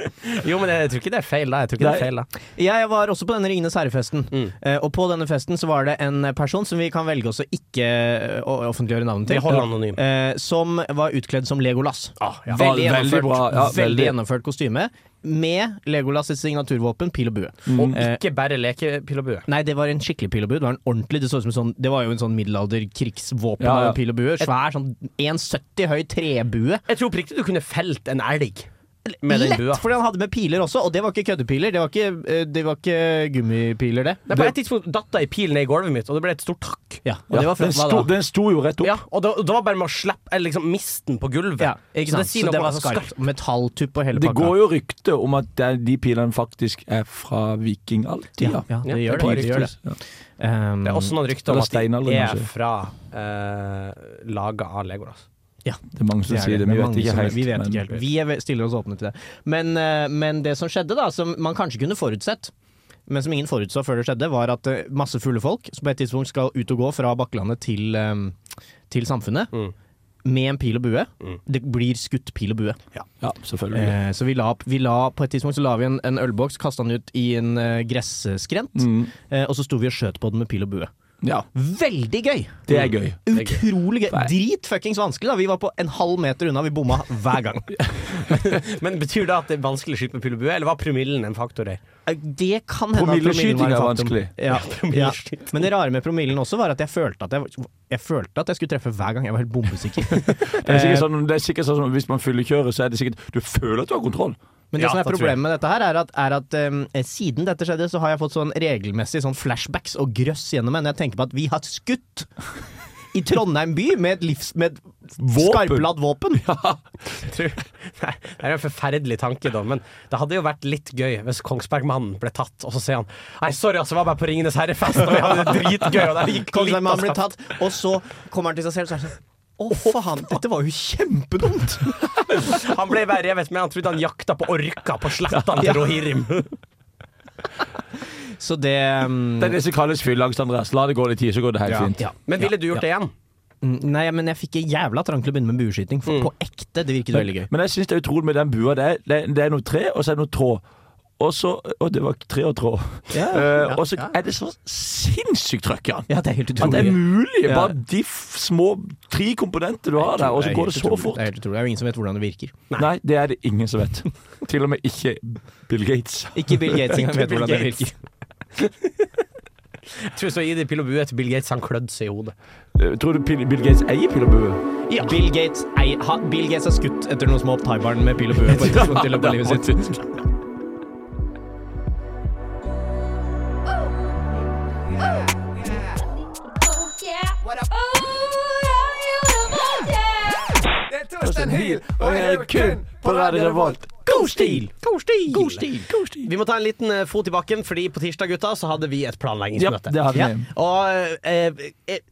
Jo, men jeg tror ikke det er feil, da. Jeg tror ikke det
Nei.
er feil, da. Mm.
Jeg var også på denne Ringenes herre-festen, eh, og på denne festen så var det en person som vi kan velge oss å ikke eh, å- offentliggjøre navnet til,
Vi holder anonym. Ah,
eh, som var utkledd som Legolas.
ja.
Veldig
Ja, veldig
gjennomført,
bra. Ja,
veldig
veldig.
gjennomført kostyme, med Legolas' signaturvåpen, pil og bue. Eh,
Og ikke bare lekepil og bue.
Nei, det var en skikkelig pil og bue. Det var en ordentlig, det så ut som en sånn Det var jo en sånn middelalder krigsvåpen
Ja,
av
ja.
en pil og bue. Svær, sånn 1,70 høy trebue.
Jeg tror oppriktig du kunne felt en elg med den
Lett,
bua.
fordi han hadde med piler også, og det var ikke køddepiler. Det var ikke, eh, det var ikke gummipiler, det.
Nei, på et tidspunkt datt ei pil ned i gulvet mitt, og det ble et stort hakk.
Ja, og det var
den,
fett, hva
sto,
da?
den sto jo rett opp.
Ja, og da, da var bare med å slippe eller liksom miste den på gulvet.
Ja, ikke sant? Så
sier
det,
noe om
var
hvor
skarpt. Metalltupp og hele
Det
pakka.
går jo rykte om at det er- de pilene faktisk er
ja,
fra vikingaldida.
ja, det
Ja,
gjør det. det, gjør det.
Ja.
Um,
Det er også noen rykter om
Eller
at de
steinalderen,
er
kanskje.
fra uh, laga av Legolas.
Det er mange som
det er
sier
det.
det, men
Det
vi
er mange som-
vet ikke helt.
Vi vet
men-
ikke helt. Vi er, ve- stiller oss åpne til det. Men, eh, men det som skjedde, da, som man kanskje kunne forutsett, men som ingen forutså før det skjedde, var at eh, masse fulle folk som på et tidspunkt skal ut og gå fra Bakkelandet til, eh, til samfunnet.
Mm.
Med en pil og bue. Det blir skutt pil og bue.
Ja, selvfølgelig.
Eh, så vi la, vi la på et tidspunkt så la vi en, en ølboks, kasta den ut i en eh, gresskrent,
Mm.
eh, og så sto vi og skjøt på den med pil og bue.
Ja,
Veldig gøy! Mm.
det er gøy.
Utrolig gøy.
Nei.
Dritfuckings vanskelig, da. Vi var på en halv meter unna, vi bomma hver gang.
Men betyr det at det er vanskelig å skyte med pil og bue, eller var promillen en faktor her?
Det kan hende at promillen
Promilleskyting
var
er
en faktum.
vanskelig.
Ja, ja. Men det rare med promillen også var at jeg følte at jeg, jeg følte at jeg skulle treffe hver gang. Jeg var helt bombesikker.
Det er sikkert sånn, det er sikkert sånn som hvis man fyllekjører, så er det sikkert Du føler at du har kontroll.
Men det
Ja,
som er
det tror jeg.
problemet med dette her, er at, er at eh, siden dette skjedde, så har jeg fått sånn regelmessig sånn flashbacks og grøss gjennom meg når jeg tenker på at vi har skutt i Trondheim by med et, livs, med et skarpladd våpen.
Tror- Nei, det er en forferdelig tanke, da, men det hadde jo vært litt gøy hvis Kongsbergmannen ble tatt, og så sier han Nei, sorry, altså, det var bare på Ringenes herre-fest, og vi hadde det dritgøy, og der gikk
Kongsberg, han Sånn
litt av
blir
skaft.
tatt, og så kommer han til seg selv, så er det sånn Å, faen, dette var jo kjempedumt!
Han ble bare revet med, han trodde han jakta på orka på slettene til Rohirrim.
Så det mm,
Det er det som kalles fylleangst, Andreas. La det gå litt tid, så går det helt fint.
ja.
Men ville du gjort det igjen?
Mm, Nei, men jeg fikk en jævla trang til å begynne med bueskyting. For på ekte, det virket veldig gøy.
Men jeg syns det er utrolig med den bua. Det er, det er- det er noe tre, og så er det noe tråd. Og så Og det var tre og tråd. Eh, og så er det så sinnssykt trøkk i den.
Ja, det er helt
At det er
utrolig.
mulig!
Ja.
Bare de f- små tre komponenter du har der, og så går det så fort.
Det er helt utrolig. Det er jo ingen som vet hvordan det virker.
Nei, det er det ingen som vet. Til og med ikke Bill Gates.
Ikke Bill Gates engang vet
Bill
hvordan det
Gates.
virker.
Jeg tror så gir det pil og bue til Bill Gates, han klødde seg i hodet.
Eh, Tror du Pil- Bill Gates eier Pil og Bue?
Bill, Gates, ei, ha, Bill Gates er skutt etter noen små thaibarn med pil og bue. på et tidspunkt i løpet av livet sitt.
Torstein Hyl, og jeg er kun på Radio Revolt. Go!
stil! God stil! Vi må ta en liten eh, fot i bakken, fordi på tirsdag gutta, så hadde vi et
Ja,
planleggingsmøte.
det hadde
Ja.
vi.
Og eh, eh,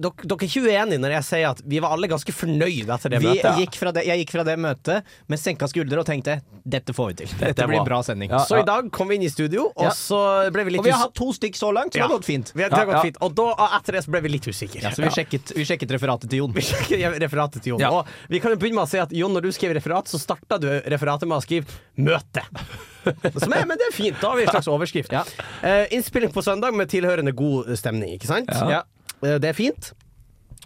dere, dere er ikke uenige når jeg sier at vi var alle ganske fornøyde etter det
Vi
møtet.
gikk fra det, jeg gikk fra det møtet med senka skuldre og tenkte dette får vi til. Dette,
er
blir
bra.
bra sending.
Ja,
Så,
Så i dag kom vi inn i studio, og
Ja.
så ble vi litt
og vi har
us-
hatt to stykk så langt, så det har
Ja.
gått fint.
Vi har- det har
Ja,
gått
ja.
fint. Og da, og etter det så ble vi litt usikre.
Ja, så vi sjekket, vi sjekket referatet til Jon.
Vi sjekker referatet til Jon.
Ja.
Og vi kan jo begynne med å si at Jon, når du skrev referat, så starta du referatet med å skrive 'møte'. Som er, men det er fint. Da har vi en slags overskrift.
Ja.
Eh, innspilling på søndag med tilhørende god stemning, ikke sant?
Ja.
Eh, det er fint.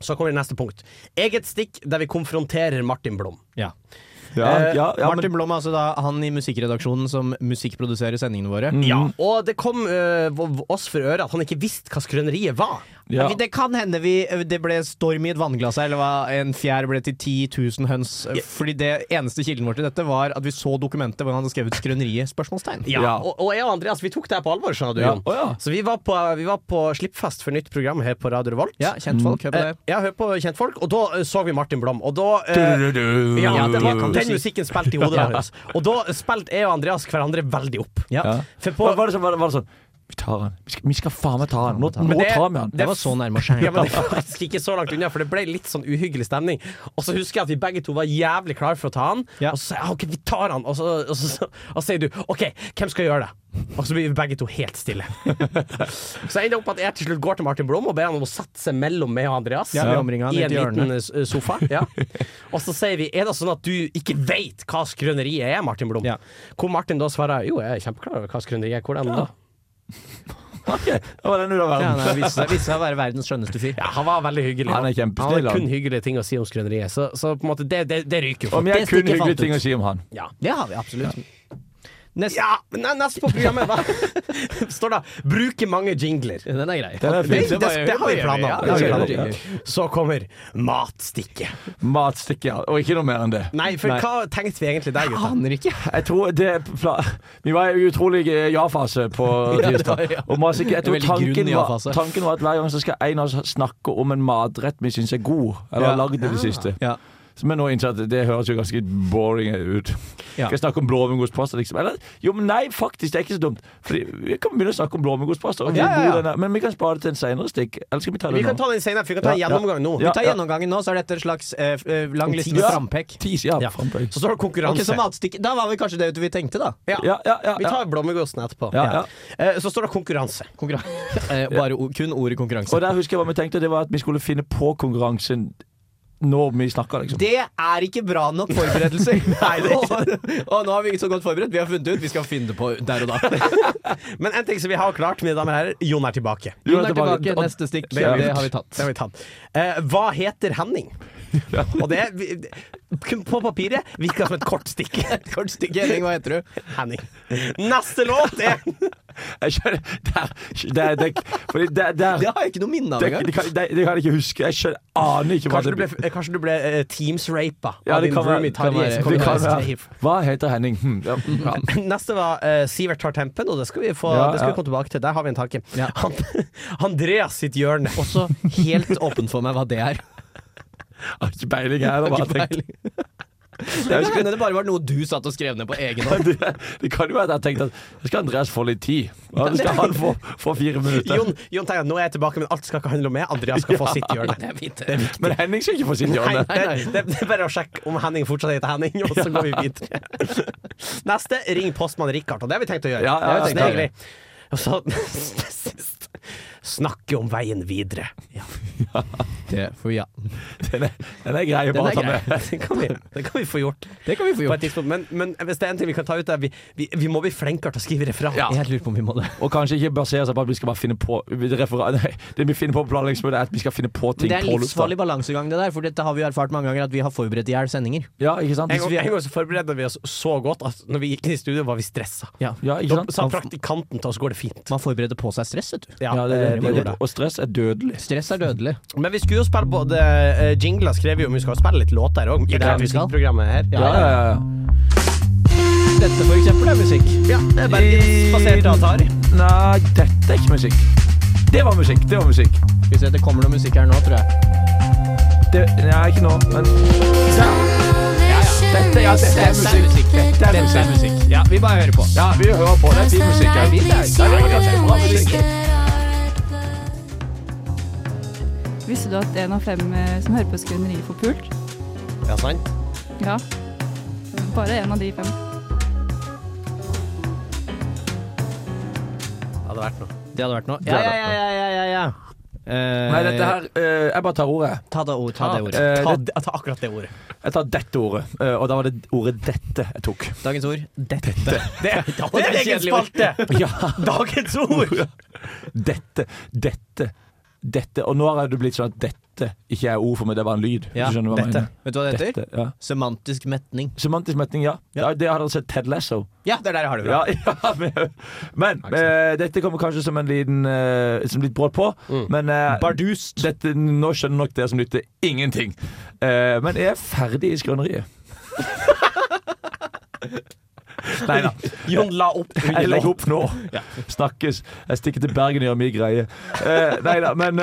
Så kommer det neste punkt. Eget stikk der vi konfronterer Martin Blom.
Ja.
Ja, ja, ja,
Martin Blom er altså da han i musikkredaksjonen som musikkproduserer sendingene våre.
Mm.
Ja. Og det kom eh, v- oss for øre at han ikke visste hva skrøneriet var.
ja.
Vi- Det kan hende vi, eh, det ble storm i et vannglass her, eller hva, en fjær ble til 10 000 høns. Fordi det eneste kilden vår til dette var at vi så dokumentet hvor han hadde skrevet 'Skrøneriet?' spørsmålstegn.
Ja.
Og, og jeg og Andreas vi tok det her på alvor, skjønner du.
Ja.
Jon.
Å, ja.
Så vi var, på, vi var på slippfest for nytt program her på Radio Revolt.
Ja, kjentfolk, hør på
Eh,
det.
jeg hører på kjentfolk, og da eh, så vi Martin Blom. Og da eh,
Du-du-du.
ja,
Ja,
det var,
kan du
Den
si.
musikken spilte i hodet vårt. Og da spilte jeg og Andreas hverandre veldig opp.
Ja.
Ja.
For på,
Hva var det sånn? Var det, var det sånn vi tar han. Vi skal, vi skal faen meg ta han. Nå, nå
Men det-
tar vi han.
Det var så nærme å
ja,
skjære.
men det var faktisk ikke så langt unna, for det ble litt sånn uhyggelig stemning. Og så husker jeg at vi begge to var jævlig klare for å ta han.
Ja.
Og så sa jeg OK, vi tar han. Og så, og, så, og, så, sier du OK, hvem skal gjøre det? Og så blir vi begge to helt stille. så jeg ender opp med at jeg til slutt går til Martin Blom og ber han om å sette seg mellom meg og Andreas.
Ja, vi omringer han
I
helt
en
i hjørnet.
liten eh, sofa. Ja. Og så sier vi er det sånn at du ikke veit hva skrøneriet er, Martin Blom?
Ja.
Hvor Martin da svarer jo, jeg er kjempeklar over hva skrøneriet er. Hvordan da?
Ok, da var den ut av
Ja,
verden.
nei, han viste seg- viste seg å være verdens skjønneste fyr.
Ja, han var veldig hyggelig.
Han er
Han
kjempesnill,
har kun
han.
hyggelige ting å si om skrøneriet, så, så på en måte, det, det, det ryker jo.
Om jeg
Det
kun
stikker jeg fant
hyggelige ting
ut.
å si om han.
Ja.
Det har vi absolutt. Neste,
ja, men nei, neste på programmet hva? står det 'bruke mange jingler'.
Den er grei.
Den er
Det,
fin.
det, det, har vi planer
Ja,
om.
det har vi
Det har vi
planer om.
planer om. Så kommer matstikket.
Matstikke, ja. Og ikke noe mer enn det.
Nei, for hva tenkte vi egentlig der, gutta?
Aner ikke.
Jeg tror det er pla- Vi var i utrolig eh, ja-fase på
Ja, det var,
tirsdag.
ja.
Og matstikke- jeg tror
En veldig grunn
tanken var,
ja-fase.
tanken var at hver gang så skal en av oss snakke om en matrett vi syns er god, eller
Ja.
har lagd i det siste.
Ja.
Så Men nå innser jeg at det høres jo ganske boring ut.
Ja.
Skal jeg snakke om blåmuggostpasta, liksom? Eller, jo, men nei, faktisk, det er ikke så dumt. Fordi vi kan begynne å snakke om blåmuggostpasta, og hvor
Ja, ja, ja.
god den er. men vi kan spare det til en seinere stikk. Eller skal vi ta
Vi
det
kan
nå?
ta den senere, for vi kan ta en
Ja, ja.
gjennomgang nå.
Vi
Ja,
tar gjennomgangen nå, så er dette en slags eh, f- eh, lang liste med
Ja.
frampekk.
Tis, ja,
Ja.
frampå.
Så står
Ok,
det konkurranse.
så matstikke- Da var vel kanskje det vi tenkte, da.
ja.
Ja, ja, ja.
Vi
ja.
tar blåmuggosten etterpå.
Ja, ja.
Eh, Så står det konkurranse.
Konkurran eh, bare o kun ordet konkurranse.
Og der husker jeg hva vi tenkte, det var at vi skulle finne på konkurransen når vi snakka, liksom.
Det er ikke bra nok forberedelser. Nei, det er ikke. Og, og nå har vi ikke så godt forberedt. Vi har funnet ut, vi skal finne det på der og da.
Men en ting som vi har klart, mine damer og herrer, Jon er tilbake.
Jon er tilbake.
Neste stikk.
Det har vi
har vi tatt.
Det har vi tatt. Eh, hva heter Henning? Og det er vi- kun på papiret virker som et kort stikk.
Kort stikk, Henning, hva heter du?
Henning. Neste låt er
Jeg skjønner Der, der, der Fordi der, der
Det har jeg ikke noe minne av
det,
engang.
det, kan, det, det kan jeg ikke huske. Jeg skjønner, aner ikke hva
Kanskje du ble, eh, kanskje du ble eh, Teams-rapa
Ja,
av
det
din
kan være-
roomie
det
kan
Tarjei.
være-
som
det
kommer
kan
til å
være.
være slave.
Hva heter Henning? Hm, ja, ja.
Neste var eh, Sivert tar tempen, og det skal vi, få,
Ja,
det skal
ja.
vi komme tilbake til. Der har vi en tanke.
Ja.
Han, Andreas sitt hjørne.
Også helt åpent for meg hva det er.
Jeg Har ikke peiling, jeg heller. bare tenkt.
Det kan hende det bare var noe du satt og skrev ned på egen hånd.
Det, det kan jo være at jeg tenkte at nå skal Andreas få litt tid. Ja, nå skal han få, få fire minutter.
Jon, Jon tenker at nå er jeg tilbake, men alt skal ikke handle om meg. Andreas skal få sitt hjørne.
Det er fint.
Men Henning skal ikke få sitt
Nei,
hjørne.
det, det, det er bare å sjekke om Henning fortsatt heter Henning, og så går vi videre. Neste ring postmann Richard, og det har vi tenkt å gjøre.
Ja, ja,
Det har vi
ja.
tenkt å gjøre. Og så sist Snakke om veien videre.
Det, for ja.
Den er, den er grei å
Den
bare
er
ta
grei.
med.
Det kan vi, det kan vi få gjort.
det kan vi få
På
gjort.
et tidspunkt. Men, men hvis det er en ting vi kan ta ut, er vi, vi, vi må bli flinkere til å skrive referat.
Ja.
Jeg lurer på om vi må det.
Og kanskje ikke basere seg på at vi skal bare finne på refera- Nei, Det vi finner på på planleggingsmøtet, er at vi skal finne på ting
Det er en
på lufta.
livsfarlig balansegang, det der, for dette har vi jo erfart mange ganger, at vi har forberedt i hjel sendinger.
Ja, ikke sant?
En gang, en gang så forberedte vi oss så godt at når vi gikk inn i studio, var vi stressa.
Ja, ikke
Da
sant?
sa praktikanten til oss går det fint. eh,
Man forbereder på seg stress, vet du.
Ja, det, det,
vi
det,
gjorde
det. Og stress er dødelig.
Stress er dødelig.
Men vi skulle jo spille både uh, jingler, skrev vi om. Vi skal jo spille litt låter òg. I
det
det
vi skal.
musikkprogrammet her.
Ja, ja, ja, ja.
Dette, for eksempel, er musikk.
Ja, det er bergensbasert Atari.
Nei, dette er ikke musikk. Det var musikk. Det var musikk.
Skal vi se, det kommer noe musikk her nå, tror jeg.
Det, nei, ikke nå, men
salvation.
Dette er, altså- det er musikk. Dette er musikk.
Ja, vi bare hører på.
Ja, vi hører på. Det er fin musikk. her. Ja, det er bra. Det er bra musikk.
Visste du at en av fem eh, som hører på Skrøneriet, får pult?
Ja, sant?
Ja. Bare en av de fem.
Det hadde vært noe.
Det hadde vært noe. Ja, ja, ja, ja, ja, ja, ja. Eh,
Nei, dette her eh, Jeg bare tar ordet.
Ta det ordet. Ta det ordet.
Eh,
Ta,
det-
det- ta akkurat det ordet.
Jeg tar dette ordet. Eh, Og da var det ordet 'dette' jeg tok.
Dagens ord. Dette.
Det, det er egen spalte!
Ja,
Dagens ord!
dette, dette, dette. Og nå har det blitt sånn at dette ikke er ord for meg, det var en lyd. Hvis
Ja,
du skjønner hva jeg
dette.
mener.
Vet du hva det heter?
Dette, ja.
Semantisk metning.
Semantisk metning, ja.
Ja.
ja. Det har han sett Ted Lasso.
Ja, det er der jeg har det
Ja, ja, men men eh, dette kommer kanskje som en liten eh, Som litt brått på, men eh,
Bardust.
dette, Nå skjønner nok dere som lytter, ingenting. Eh, men jeg er ferdig i skrøneriet. Nei da.
Jon la opp
Jeg
under
legger
låt.
opp nå. Snakkes. Jeg stikker til Bergen og gjør min greie. Eh, nei da, men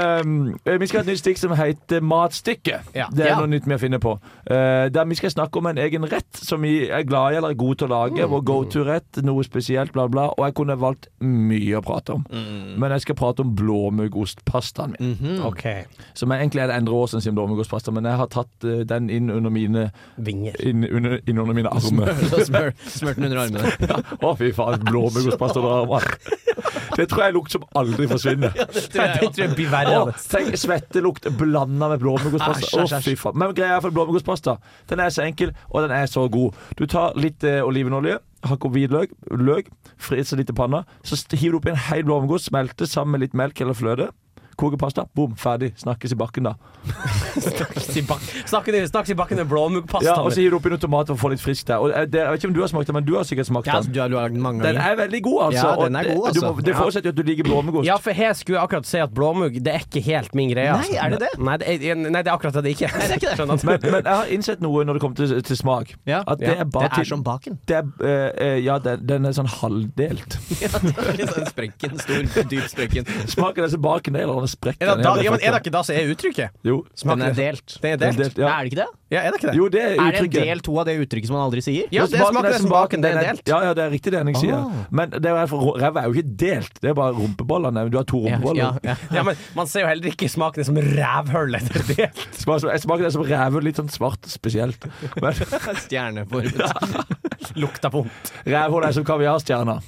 eh, vi skal ha et nytt stikk som heter Matstykke.
Ja.
Det er
Ja.
noe nytt vi har funnet på. Eh, der vi skal snakke om en egen rett som vi er glad i eller er gode til å
Mm.
lage. Vår go to-rett, noe spesielt, bla, bla. Og jeg kunne valgt mye å prate om.
Mm.
Men jeg skal prate om blåmuggostpastaen min.
OK.
Som er egentlig er det Endre Aasen sin blåmuggostpasta, men jeg har tatt eh, den inn under mine,
Vinger.
inn, under, inn under mine armer.
Så smør, smørte den under armene.
Ja. Å, fy faen. Blåmuggostpasta og armer. Det tror jeg er lukt som aldri forsvinner.
Det tror jeg blir verre av
Å,
det.
tenk svettelukt blanda med
Æsj,
blåmuggostpasta.
æsj,
Å, fy faen. Men greia er for blåmuggostpasta. Den er så enkel, og den er så god. Du tar litt eh, olivenolje, hakk opp hvitløk, løk, friser litt i panna. Så st- hiver du oppi en hel blåmuggost, smelter sammen med litt melk eller fløte. Koker pasta, bom, ferdig. Snakkes i bakken, da.
Snakkes i bak- Snakkes i- snakkes i bakken med
Ja, og
blåmuggpastaen.
så hiver du oppi noen tomater for å få litt friskt der. Og eh, det, jeg vet ikke om du har smakt den, men du har sikkert smakt
Ja,
altså,
den.
du har du har lagd den mange
Den
ganger.
er veldig god, altså.
Ja,
og
den er
det-
god,
du må-
altså.
Det
Ja.
forutsetter jo at du liker blåmuggost.
Ja, for her skulle jeg akkurat si at blåmugg det er ikke helt min greie. altså.
Nei, er det det?
Nei, det er, nei, det er akkurat det det ikke er.
det er ikke det.
Skjønner
Men,
at-
men jeg har innsett noe når det kommer til, til smak.
Ja.
At det
Ja.
er bare
det
til-
er som baken.
Det er, eh, eh, ja, den, den er sånn halvdelt.
En sprekken, stor, dyp sprekken.
Smaken er så bak en del, og den er sprekken.
er det, da,
Ja, det er
ja, men er det
faktisk-
ikke da som er uttrykket?
Jo.
Den er delt.
Det er
Den er
delt.
delt, ja.
Nei, Er det ikke det?
Ja, er det ikke det?
Jo, det er
Er det en
uttrykket.
del to av det uttrykket som man aldri sier?
Ja, det
Smaken
smaker det som baken, det er delt.
Ja, ja, det er riktig det Henning sier.
Ah.
Men det er, for ræva er jo ikke delt, det er bare rumpebollene. Du har to
Ja,
rumpeboller.
ja, ja.
Ja, men man ser jo heller ikke smaken som rævhull etter det.
Smaken som- Smaken er som ræve, litt sånn svart spesielt. Men
Stjerneformet.
Lukta på vondt.
rævhullet er som kaviarstjerna.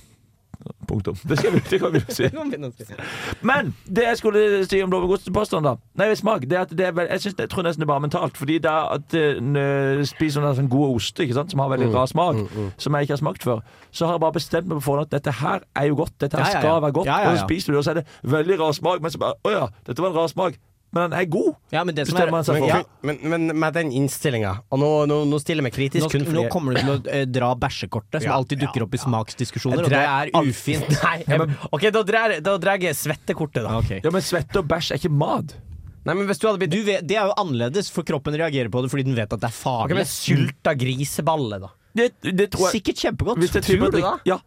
Punktum. Det skal vi, det kan vi jo si. Men det jeg skulle si om blåbærgodtepåstand, da Nei, smak, det er at det er vel, jeg, synes, jeg tror nesten det er bare mentalt. Fordi det er at eh, n- spiser altså sånne, sånne gode oster ikke sant, som har veldig rar smak, som jeg ikke har smakt før, så har jeg bare bestemt meg på forhånd at dette her er jo godt. Dette her
Ja, ja, ja.
skal være godt.
Ja, ja,
Og
ja.
så spiser du det, og så er det veldig rar smak, men så bare Å ja, dette var en rar smak. Men den er god.
Ja, men det som er
Bestemmer han seg for.
Ja,
Men, men med den innstillinga, og nå, nå, nå stiller jeg meg kritisk
nå,
kun fordi
nå kommer du til å eh, dra bæsjekortet, som
Ja,
alltid dukker
ja,
opp i
ja.
smaksdiskusjoner,
Jeg
og det
drar
er
alt.
ufint.
Nei, jeg, OK, da drar da drar jeg svettekortet, da.
Ok.
Ja, men svette og bæsj er ikke mat.
Nei, men hvis du hadde blitt
Du vet, det er jo annerledes, for kroppen reagerer på det fordi den vet at det er
Ok,
farlig.
men sylta griseballe, da.
Det, det tror jeg
Sikkert kjempegodt.
Hvis det er type
Tror du
drikk- Ja.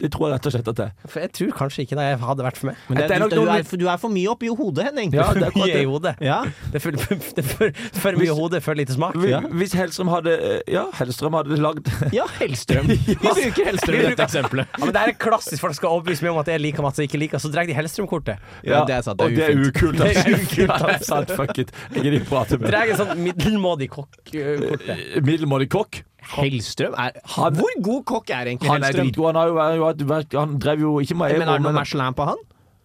Det tror jeg rett og slett at det er.
For jeg tror kanskje ikke det hadde vært for meg.
Men det,
Det er
er,
nok
du, du,
noe
er, for- du er for mye oppi hodet, Henning.
Ja, det er akkurat
Mye i
det.
hodet.
Ja.
Det er for, det er for, for mye hode, for lite smak.
Hvis- Hvis Hellstrøm hadde eh, Ja, Hellstrøm hadde lagd
Ja, Hellstrøm. Vi bruker Hellstrøm i dette eksempelet.
Ja, men det her er klassisk Folk skal overbevise meg om at jeg liker mat som jeg ikke liker, så drar de Hellstrøm-kortet.
Ja, det er sant. Det
og det
er
er
ufint.
ukult. ass.
Det er ukult, ass.
Ja, det er sant, fuck it. Jeg gidder ikke prate med
Drar jeg en sånn middelmådig eh, kokk-kortet.
Middelmådig kokk.
Hellstrøm er
Han-
Hvor god kokk er egentlig
Han er
Hellstrøm?
dritgod. Han, har jo, vært- vært- han drev jo ikke med
Men er det noe
men-
Michelin på han?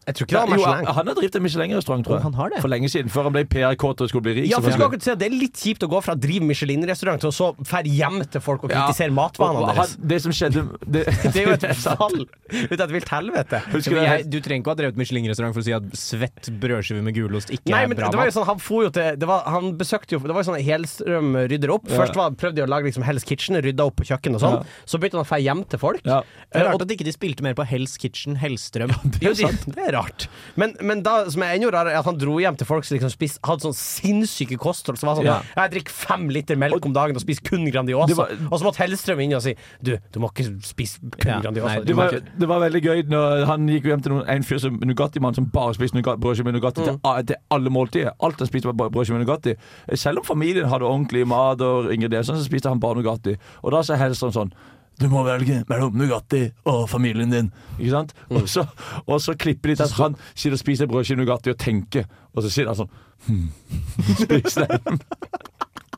Jeg tror ikke
Ja,
det var
jo,
Michelin.
han har drevet en Michelin-restaurant, tror
Å,
jeg.
han har det.
For lenge siden. Før han ble PR-kåt og skulle bli rik.
Ja, for jeg skulle
selvfølgelig.
akkurat si at Det er litt kjipt å gå fra å drive Michelin-restaurant til å så fære hjem til folk og
Ja.
kritisere
Og
matvanene deres.
han- Det som skjedde det,
Det er jo et
er sant.
fall ut av et vilt helvete.
Husker
Men
du
jeg, du trenger ikke å ha drevet Michelin-restaurant for å si at svett brødskive med gulost ikke
Nei,
er
men
bra
det var jo
mat.
sånn, han for jo til det var, Han besøkte jo Det var jo sånn Hellstrøm rydder opp. Først var, prøvde de å lage liksom Hell's Kitchen, rydda opp på kjøkkenet og sånn.
Ja.
Så begynte han å dra hjem til folk. Eh,
Ja.
Det er rart at ikke de spilte mer på Hells Kitchen, Hellstrøm.
Det er, sant. det er rart. Men, men da, som er enda rarere, er at han dro hjem til folk som liksom spiste, hadde sånn sinnssyke kosthold. Som var sånn
Ja.
Jeg drikker fem liter melk om dagen og spiser kun Grandiosa.
Det var-
og så måtte Hellstrøm inn og si Du, du må ikke spise kun
Ja,
Grandiosa.
nei,
Du
altså. Det
må
var,
ikke-
det var veldig gøy når han gikk hjem til noen, en fyr som Nugatti-mann som bare spiste nougat- brødskive med Nugatti
Mm.
til, a- til alle måltider. Alt han spiste var bare brødskive med Nugatti. Selv om familien hadde ordentlig mat og ingredienser, så spiste han bare Nugatti. Og da sa Hellstrøm sånn du må velge mellom Nugatti og familien din. Ikke sant?
Mm.
Og, så, og så klipper de til at han sitter og spiser brødskive Nugatti og tenker, og så sier han sånn hmm, Spiser den.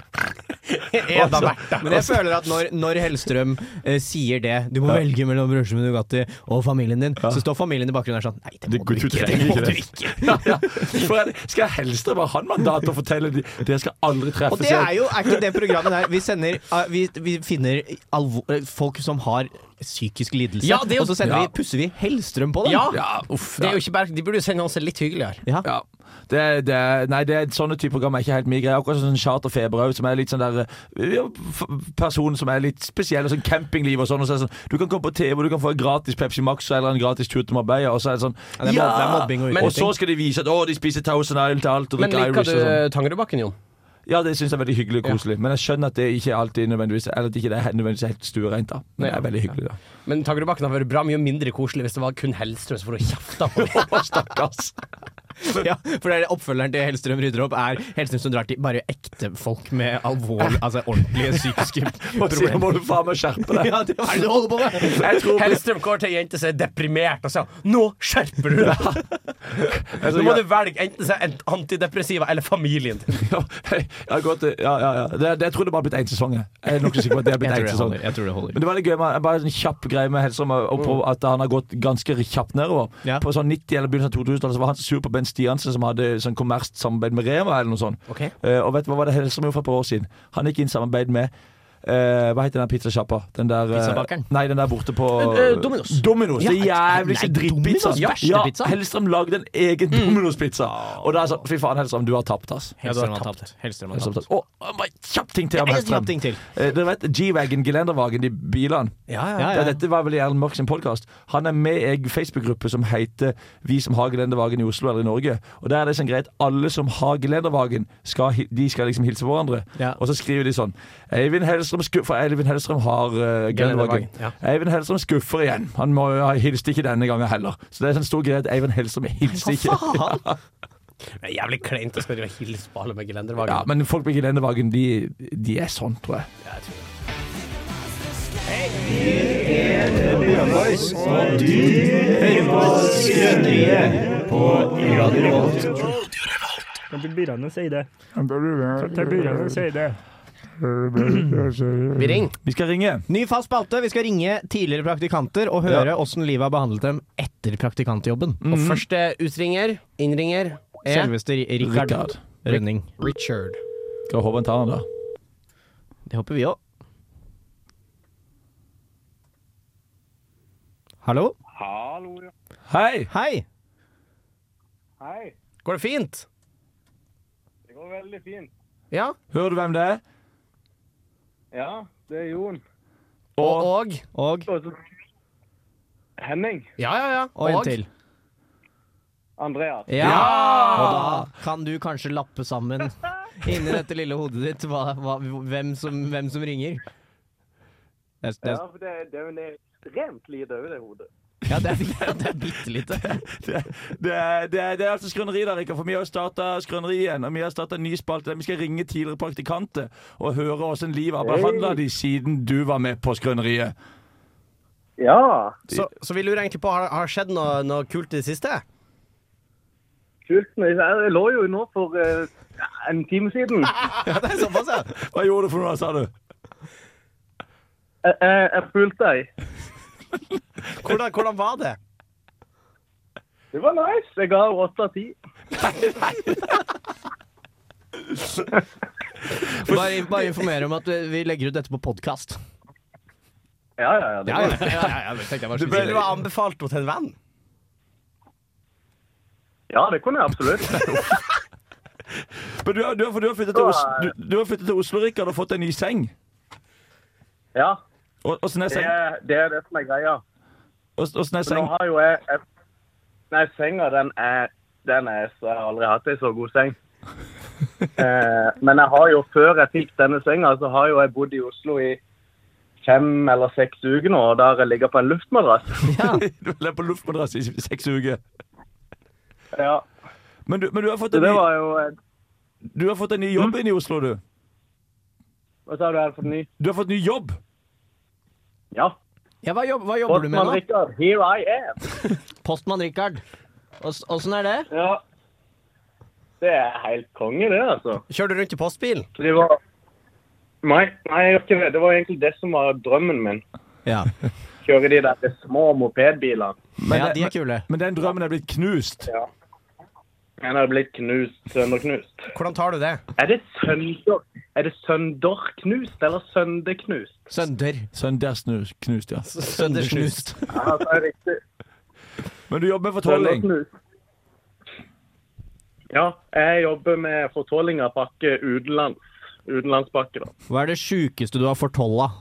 er da verdt det.
Men jeg føler at når, når Hellstrøm eh, sier det Du må velge mellom brødskive med Nugatti og familien din, så står familien i bakgrunnen der sånn Nei, det
Det
må
går-
du
du
ikke. Det
trenger
må
ikke
du
det.»
ikke.
Ja, ja. For jeg- Skal jeg Hellstrøm ha han mandat til å fortelle de, dere skal aldri
Og
treffes
det er jo er ikke det programmet der Vi, sender, eh, vi, vi finner alvor, eh, folk som har psykisk lidelse,
Ja, det er jo-
og så sender
Ja.
vi, pusser vi Hellstrøm på dem.
Ja!
Ja, uff,
Det er jo ikke bare, de burde jo sende noen som er litt hyggeligere.
Ja.
Ja. Det, er- det, er- nei, det, er- sånne type program er ikke helt min greie. Akkurat sånn charterfeber òg, som er litt sånn der eh, ja, f- Person som er litt spesiell, og sånn campingliv og sånn. Og så er det sånn du kan komme på TV, og du kan få en gratis Pepsi Max eller en gratis tur til Marbella, og så er det sånn
Ja, det er mob- det er mobbing og
og
utnytting.
så skal de vise at å, de spiser Thousand Island til alt og
Men
drikker
liker
Irish og sånn.
du Tangerudbakken, Jon?
Ja, det syns jeg er veldig hyggelig og koselig. Men jeg skjønner at det ikke alltid nødvendigvis Eller at ikke det er nødvendigvis helt stuereint, da. Men det er veldig hyggelig, da.
Men Tangerudbakken hadde vært bra mye mindre koselig hvis det var kun Hellstrøm som får kjefta på.
Å, Stakkars.
Ja, for det er det oppfølgeren til Hellstrøm rydder opp, er Hellstrøm som drar til bare ekte folk med alvor, altså ordentlige psykiske
Og så må
problemer.
du faen meg skjerpe deg.
Ja, det hva er det du holder på med!
Jeg tror
Hellstrøm går til ei jente som er deprimert og sier 'nå skjerper du deg'. Nå må du velge enten så er det antidepressiva eller familien din.
Ja, jeg har gått, ja, ja, ja. Det, det, jeg tror det bare har blitt én sesong. Jeg, jeg er nok så sikker på at det har blitt
Jeg tror
en
det
sesong.
holder. Jeg tror det holder.
Men det var litt gøy med bare en sånn kjapp greie med Hellstrøm og på at han har gått ganske kjapt nedover.
Mm. Ja.
På sånn 90- eller begynnelsen av 2000-tallet så var han sur på Ben Stiansen, som hadde sånn kommersielt samarbeid med Rema eller noe sånt.
Ok.
Eh, og vet du hva var det Hellstrøm gjorde for et par år siden? Han gikk inn i samarbeid med eh, hva heter den der pizzasjappa? Den der eh,
Pizzabakeren?
Nei, den der borte på
Eh, eh, Domino's.
Domino's. Det
Ja,
jævligste
nei,
drittpizzaen.
Domino's verste
Ja,
pizza. Mm.
Hellstrøm lagde en egen Domino's-pizza. Og da er det sånn Fy faen, Hellstrøm, du har tapt, ass.
Hellstrøm har tapt. Hellstrøm har
Som
tapt.
sagt. Å, bare kjapp ting til om
En
Hellstrøm.
kjapp ting til.
Eh, Dere vet G-Wagon, Gelendervagen, de bilene.
Ja, ja.
Det- Dette var vel i Erlend Mørk sin podkast. Han er med i en Facebook-gruppe som heter Vi som har gelendervagen i Oslo eller i Norge. Og Der er det sånn greit alle som har gelendervagen, skal, hi- de skal liksom hilse på hverandre.
Ja.
Og så skriver de sånn Eivind Hellstrøm skuffer For Eivind Hellstrøm har uh, gelendervagen.
Gelendervagen, ja.
Eivind Hellstrøm skuffer igjen. Han må, jo ha- hilste ikke denne gangen heller. Så det er sånn stor greie at Eivind Hellstrøm hilste ikke.
Det er jævlig kleint å skal drive og hilse på alle med
Ja,
gelendervagen.
men folk med gelendervagen, de, de er sånn, tror jeg.
Vi
Mm.
ringer.
Vi skal ringe.
Ny fast spalte. Vi skal ringe tidligere praktikanter og høre åssen livet har behandlet dem etter praktikantjobben.
Og første utringer, innringer, er
Selveste Ri- Rikard
Rikard.
Rønning.
Richard.
Skal håpe han tar den, da.
Det håper vi òg. Hallo?
Hei!
Hei!
Går det fint?
Det går veldig fint.
Ja?
Hører du hvem det er?
Ja, det er Jon.
Og, og
Og,
Og så Henning.
Ja, ja, ja.
og en til.
Andreas.
Ja! Og da kan du kanskje lappe sammen inni dette lille hodet ditt hva, hva, hvem, som, hvem som ringer. Det, er- det,
Ja,
er-
for det, det er jo en ekstremt lite over det hodet.
ja, det er, det er bitte lite.
Det, det, er- det, er- det er altså skrøneri, da, Rikard. For vi har starta skrøneri igjen. Og vi har starta ny spalte der vi skal ringe tidligere praktikanter og høre åssen livet har behandla de siden du var med på skrøneriet.
Ja,
Så, så vi lurer egentlig på, har har det skjedd noe, noe kult i det siste?
kult. men Jeg lå jo nå for eh, en time siden.
Hva gjorde du for noe, sa du?
Jeg, jeg, jeg fulgte deg.
Hvordan, hvordan var det?
Det var nice. Jeg ga åtte av ti.
Bare, bare informere om at vi legger ut dette på podkast.
Ja, ja, ja. Det var,
Du ble du har anbefalt henne til en venn?
ja, det kunne jeg absolutt.
Men du, har- du, har- for du har flyttet til, Os du, du har flyttet til Oslo, Rikard, og fått en ny seng.
Ja,
Og- Åssen er
det
seng?
er det, er det som er greia.
Ås- Åssen er
For nå
seng?
har jo jeg, jeg Nei, senga, den er, den er så Jeg har aldri hatt ei så god seng. Eh, men jeg har jo, før jeg fikk denne senga, så har jo jeg bodd i Oslo i fem eller seks uker nå, og der jeg ligger på en luftmadrass.
Du har levd på luftmadrass i seks uker.
Ja,
Men du, men du har fått
så
en
det
ny,
var jo eh,
du har fått en ny jobb inne i Oslo, du.
Mm. Hva sa du, jeg hadde fått ny?
Du har fått ny jobb.
Ja.
Ja, hva, jobb, hva jobber du med
Postmann
nå?
Rikard, here I am.
Postmann Richard. Ås- Åssen er det?
Ja. Det er helt konge, det, altså.
Kjører du rundt i postbil?
Det var Nei, nei, jeg gjør ikke det. Det var egentlig det som var drømmen min.
Ja.
Kjøre de der små mopedbilene.
Men,
ja,
det-
de er kule.
men den drømmen er blitt knust.
Ja. Den har blitt knust, sønderknust.
Hvordan tar du det?
Er det sønder... Er det sønderknust eller sønderknust?
Sønder.
Søndagsnus knust, ja.
Søndersnust.
Ja, det er riktig.
Men du jobber med fortolling.
Sønderknust. Ja, jeg jobber med fortolling av pakke utenlands. Utenlandspakke, da.
Hva er det sjukeste du har fortolla?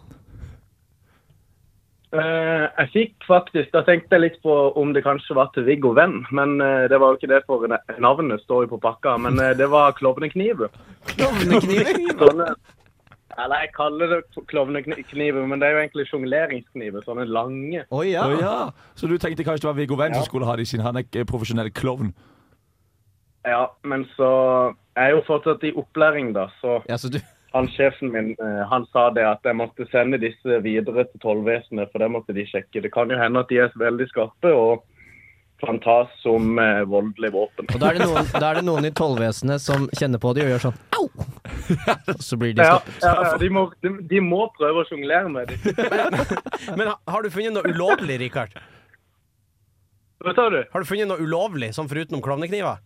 Eh, jeg fikk faktisk Da tenkte jeg litt på om det kanskje var til Viggo Venn, men eh, det var jo ikke det, for navnet står jo på pakka. Men eh, det var klovnekniv.
Klovnekniver?
Sånne, eller jeg kaller det klovnekniv, men det er jo egentlig sjongleringskniver. Sånne lange.
Å ja.
Å ja. Så du tenkte kanskje det var Viggo Venn som skulle ha de, siden han er ikke profesjonell klovn?
Ja, men så Jeg er jo fortsatt i opplæring, da, så
ja så du,
han sjefen min eh, han sa det at jeg måtte sende disse videre til tollvesenet, for det måtte de sjekke. Det kan jo hende at de er veldig skarpe og kan tas som eh, voldelig våpen.
og da er, det noen, da er det noen i tollvesenet som kjenner på det og gjør sånn au! Og så blir de
Ja,
stoppet.
ja, ja de, må, de, de må prøve å sjonglere med det.
Men ha- har du funnet noe ulovlig, Richard?
Hva sa du?
Har du funnet noe ulovlig, sånn foruten om klovnekniver?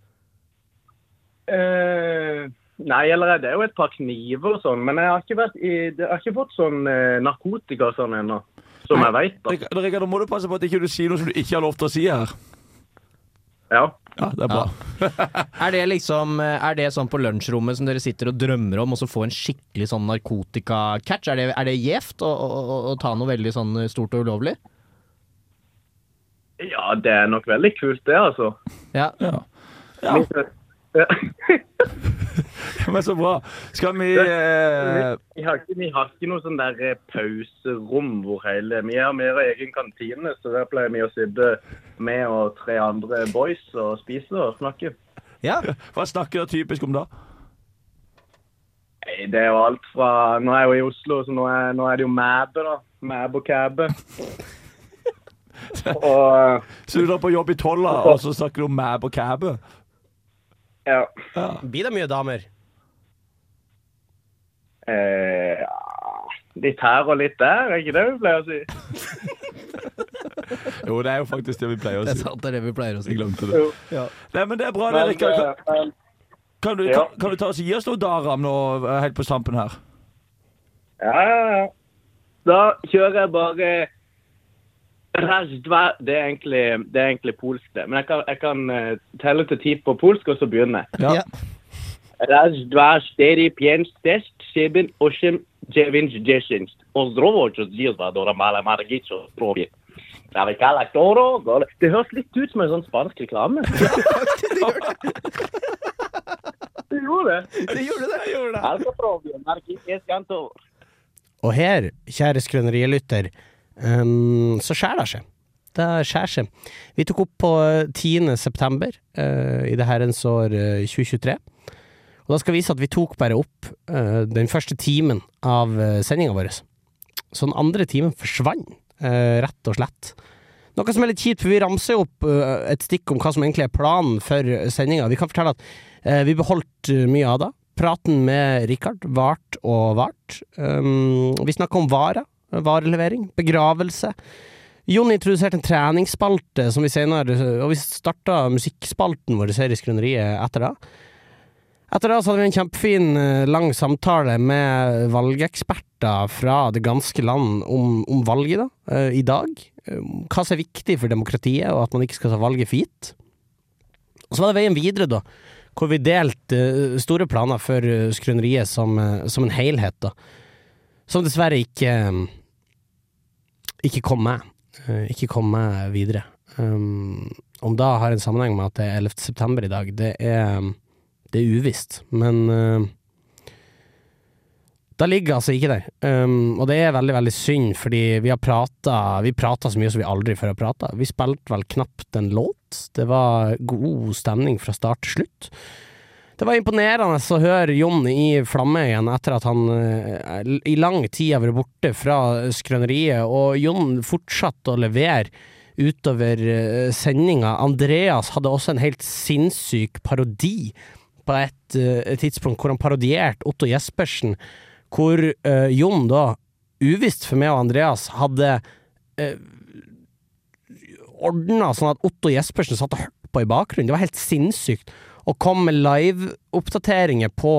Eh, nei, eller det er jo et par kniver og sånn, men jeg har ikke, vært i, jeg har ikke fått sånn eh, narkotika og sånn ennå. Som jeg veit, da.
Rikard, Rikard, nå må du passe på at ikke du sier noe som du ikke har lov til å si her.
Ja.
Ja, det er bra.
Er det liksom Er det sånn på lunsjrommet som dere sitter og drømmer om, og så få en skikkelig sånn narkotikacatch? Er det, er det gjevt å, å, å, å ta noe veldig sånn stort og ulovlig?
ja, det er nok veldig kult, det, altså.
Ja.
Ja.
Men så bra. Skal vi eh,
Vi har, ikke, vi har ikke noe sånn der eh, pauserom hvor hele Vi har mer egen kantine, så der pleier vi å sitte med og tre andre boys og spise og snakke.
ja.
Hva snakker dere typisk om da?
Nei, Det er jo alt fra Nå er jeg jo i Oslo, så nå er, nå er det jo mæbe, da. Mæbe og kæbe. Og
Så du drar på jobb i tolva, og så snakker du om mæb og kæbe?
ja.
Blir det mye damer?
Eh, ja. Litt her og litt der, er ikke det vi pleier å si?
Jo, det er jo faktisk det vi pleier å
Det er
si.
sant, det er det vi pleier å si.
Jeg glemte det.
Jo.
Nei, men det er bra, det,
Men,
Rikard. Kan,
eh, men,
kan, du-
ja.
kan, kan du ta oss gi oss noe Daram nå, eh, helt på stampen her?
ja, ja, ja. Da kjører jeg bare Razdva- Det er egentlig, det er egentlig polsk, det. Men jeg kan, jeg kan eh, telle til ti på polsk, og så begynner jeg.
Ja.
Raz, dwa, cztery, pięć, sześć, siedem, osiem, dziewięć, dziesięć. Pozdrowo, czy zjedzwa, dora mala margiczo, zdrowie. Dale, kala, toro, gole. Det høres litt ut som en sånn spansk reklame. det gjorde det.
Det gjorde det.
Altså, Frode, Marquinhos kantor.
Og her, kjære skrønerielytter, ehm, så skjærer det seg. Det skjærer seg. Vi tok opp på eh, 10. september eh, i det herrens år eh, 2023. Og da skal vise at vi tok bare opp eh, den første timen av uh, sendinga vår. Så den andre timen forsvant, eh, rett og slett. Noe som er litt kjipt, for vi ramser jo opp eh, et stikk om hva som egentlig er planen for sendinga. Vi kan fortelle at eh, vi beholdt eh, mye av det. Praten med Richard vart og vart. Um, vi snakka om varer, varelevering, begravelse. Jon introduserte en treningsspalte, som vi senere, og vi starta musikkspalten vår i Serieskrøneriet etter det. Etter det så hadde vi en kjempefin, eh, lang samtale med valgeksperter fra det ganske land om, om valget da, eh, i dag. Um, Hva som er viktig for demokratiet, og at man ikke skal ta valget for gitt. Og så var det veien videre, da hvor vi delte eh, store planer for eh, skrøneriet som, eh, som en helhet, da. Som dessverre ikke eh, Ikke kom med. Eh, Ikke kom med videre. Um, Om da har en sammenheng med at det er 11. september i dag, det er, det er uvisst. Men eh, da ligger altså ikke der. Um, og det er veldig, veldig synd, fordi vi har prata Vi prata så mye som vi aldri før har prata. Vi spilte vel knapt en låt. Det var god stemning fra start til slutt. Det var imponerende å høre Jon i flamme igjen etter at han eh, i lang tid har vært borte fra skrøneriet, og Jon fortsatte å levere utover eh, sendinga. Andreas hadde også en helt sinnssyk parodi på et, eh, et tidspunkt hvor han parodierte Otto Jespersen, hvor eh, Jon da, uvisst for meg og Andreas, hadde uh, ordna sånn at Otto Jespersen satt og hørte på i bakgrunnen. Det var helt sinnssykt. Og kom med live-oppdateringer på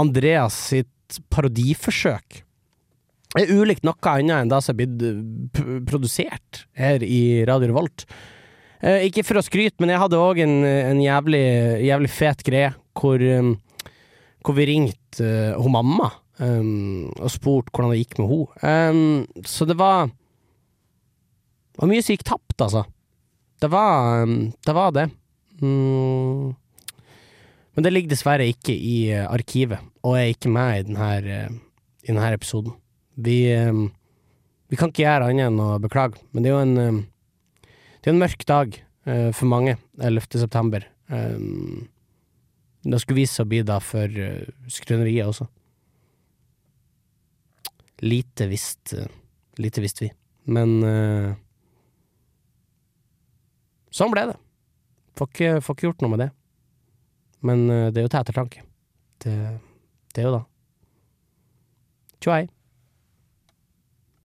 Andreas sitt parodiforsøk. Det er ulikt noe annet enn det som er blitt eh, p- produsert her i Radio Revolt. Eh, ikke for å skryte, men jeg hadde òg en, en jævlig, jævlig fet greie hvor, eh, hvor vi ringte eh, hun mamma eh, og spurte hvordan det gikk med henne. så det var Det var mye som gikk tapt, altså. Det var eh, det. Var det. Mm. Men det ligger dessverre ikke i eh, arkivet, og er ikke med i denne, i denne episoden. Vi, eh, vi kan ikke gjøre annet enn å beklage, men det er jo en, eh, det er en mørk dag eh, for mange 11. september. Eh, Det skulle vise seg å bli da for eh, skrøneriet også. Lite visst eh, Lite visste vi. Men eh, sånn ble det. Får ikke, får ikke gjort noe med det. Men eh, det er jo til ettertanke. Det, det er jo da. Tjoei.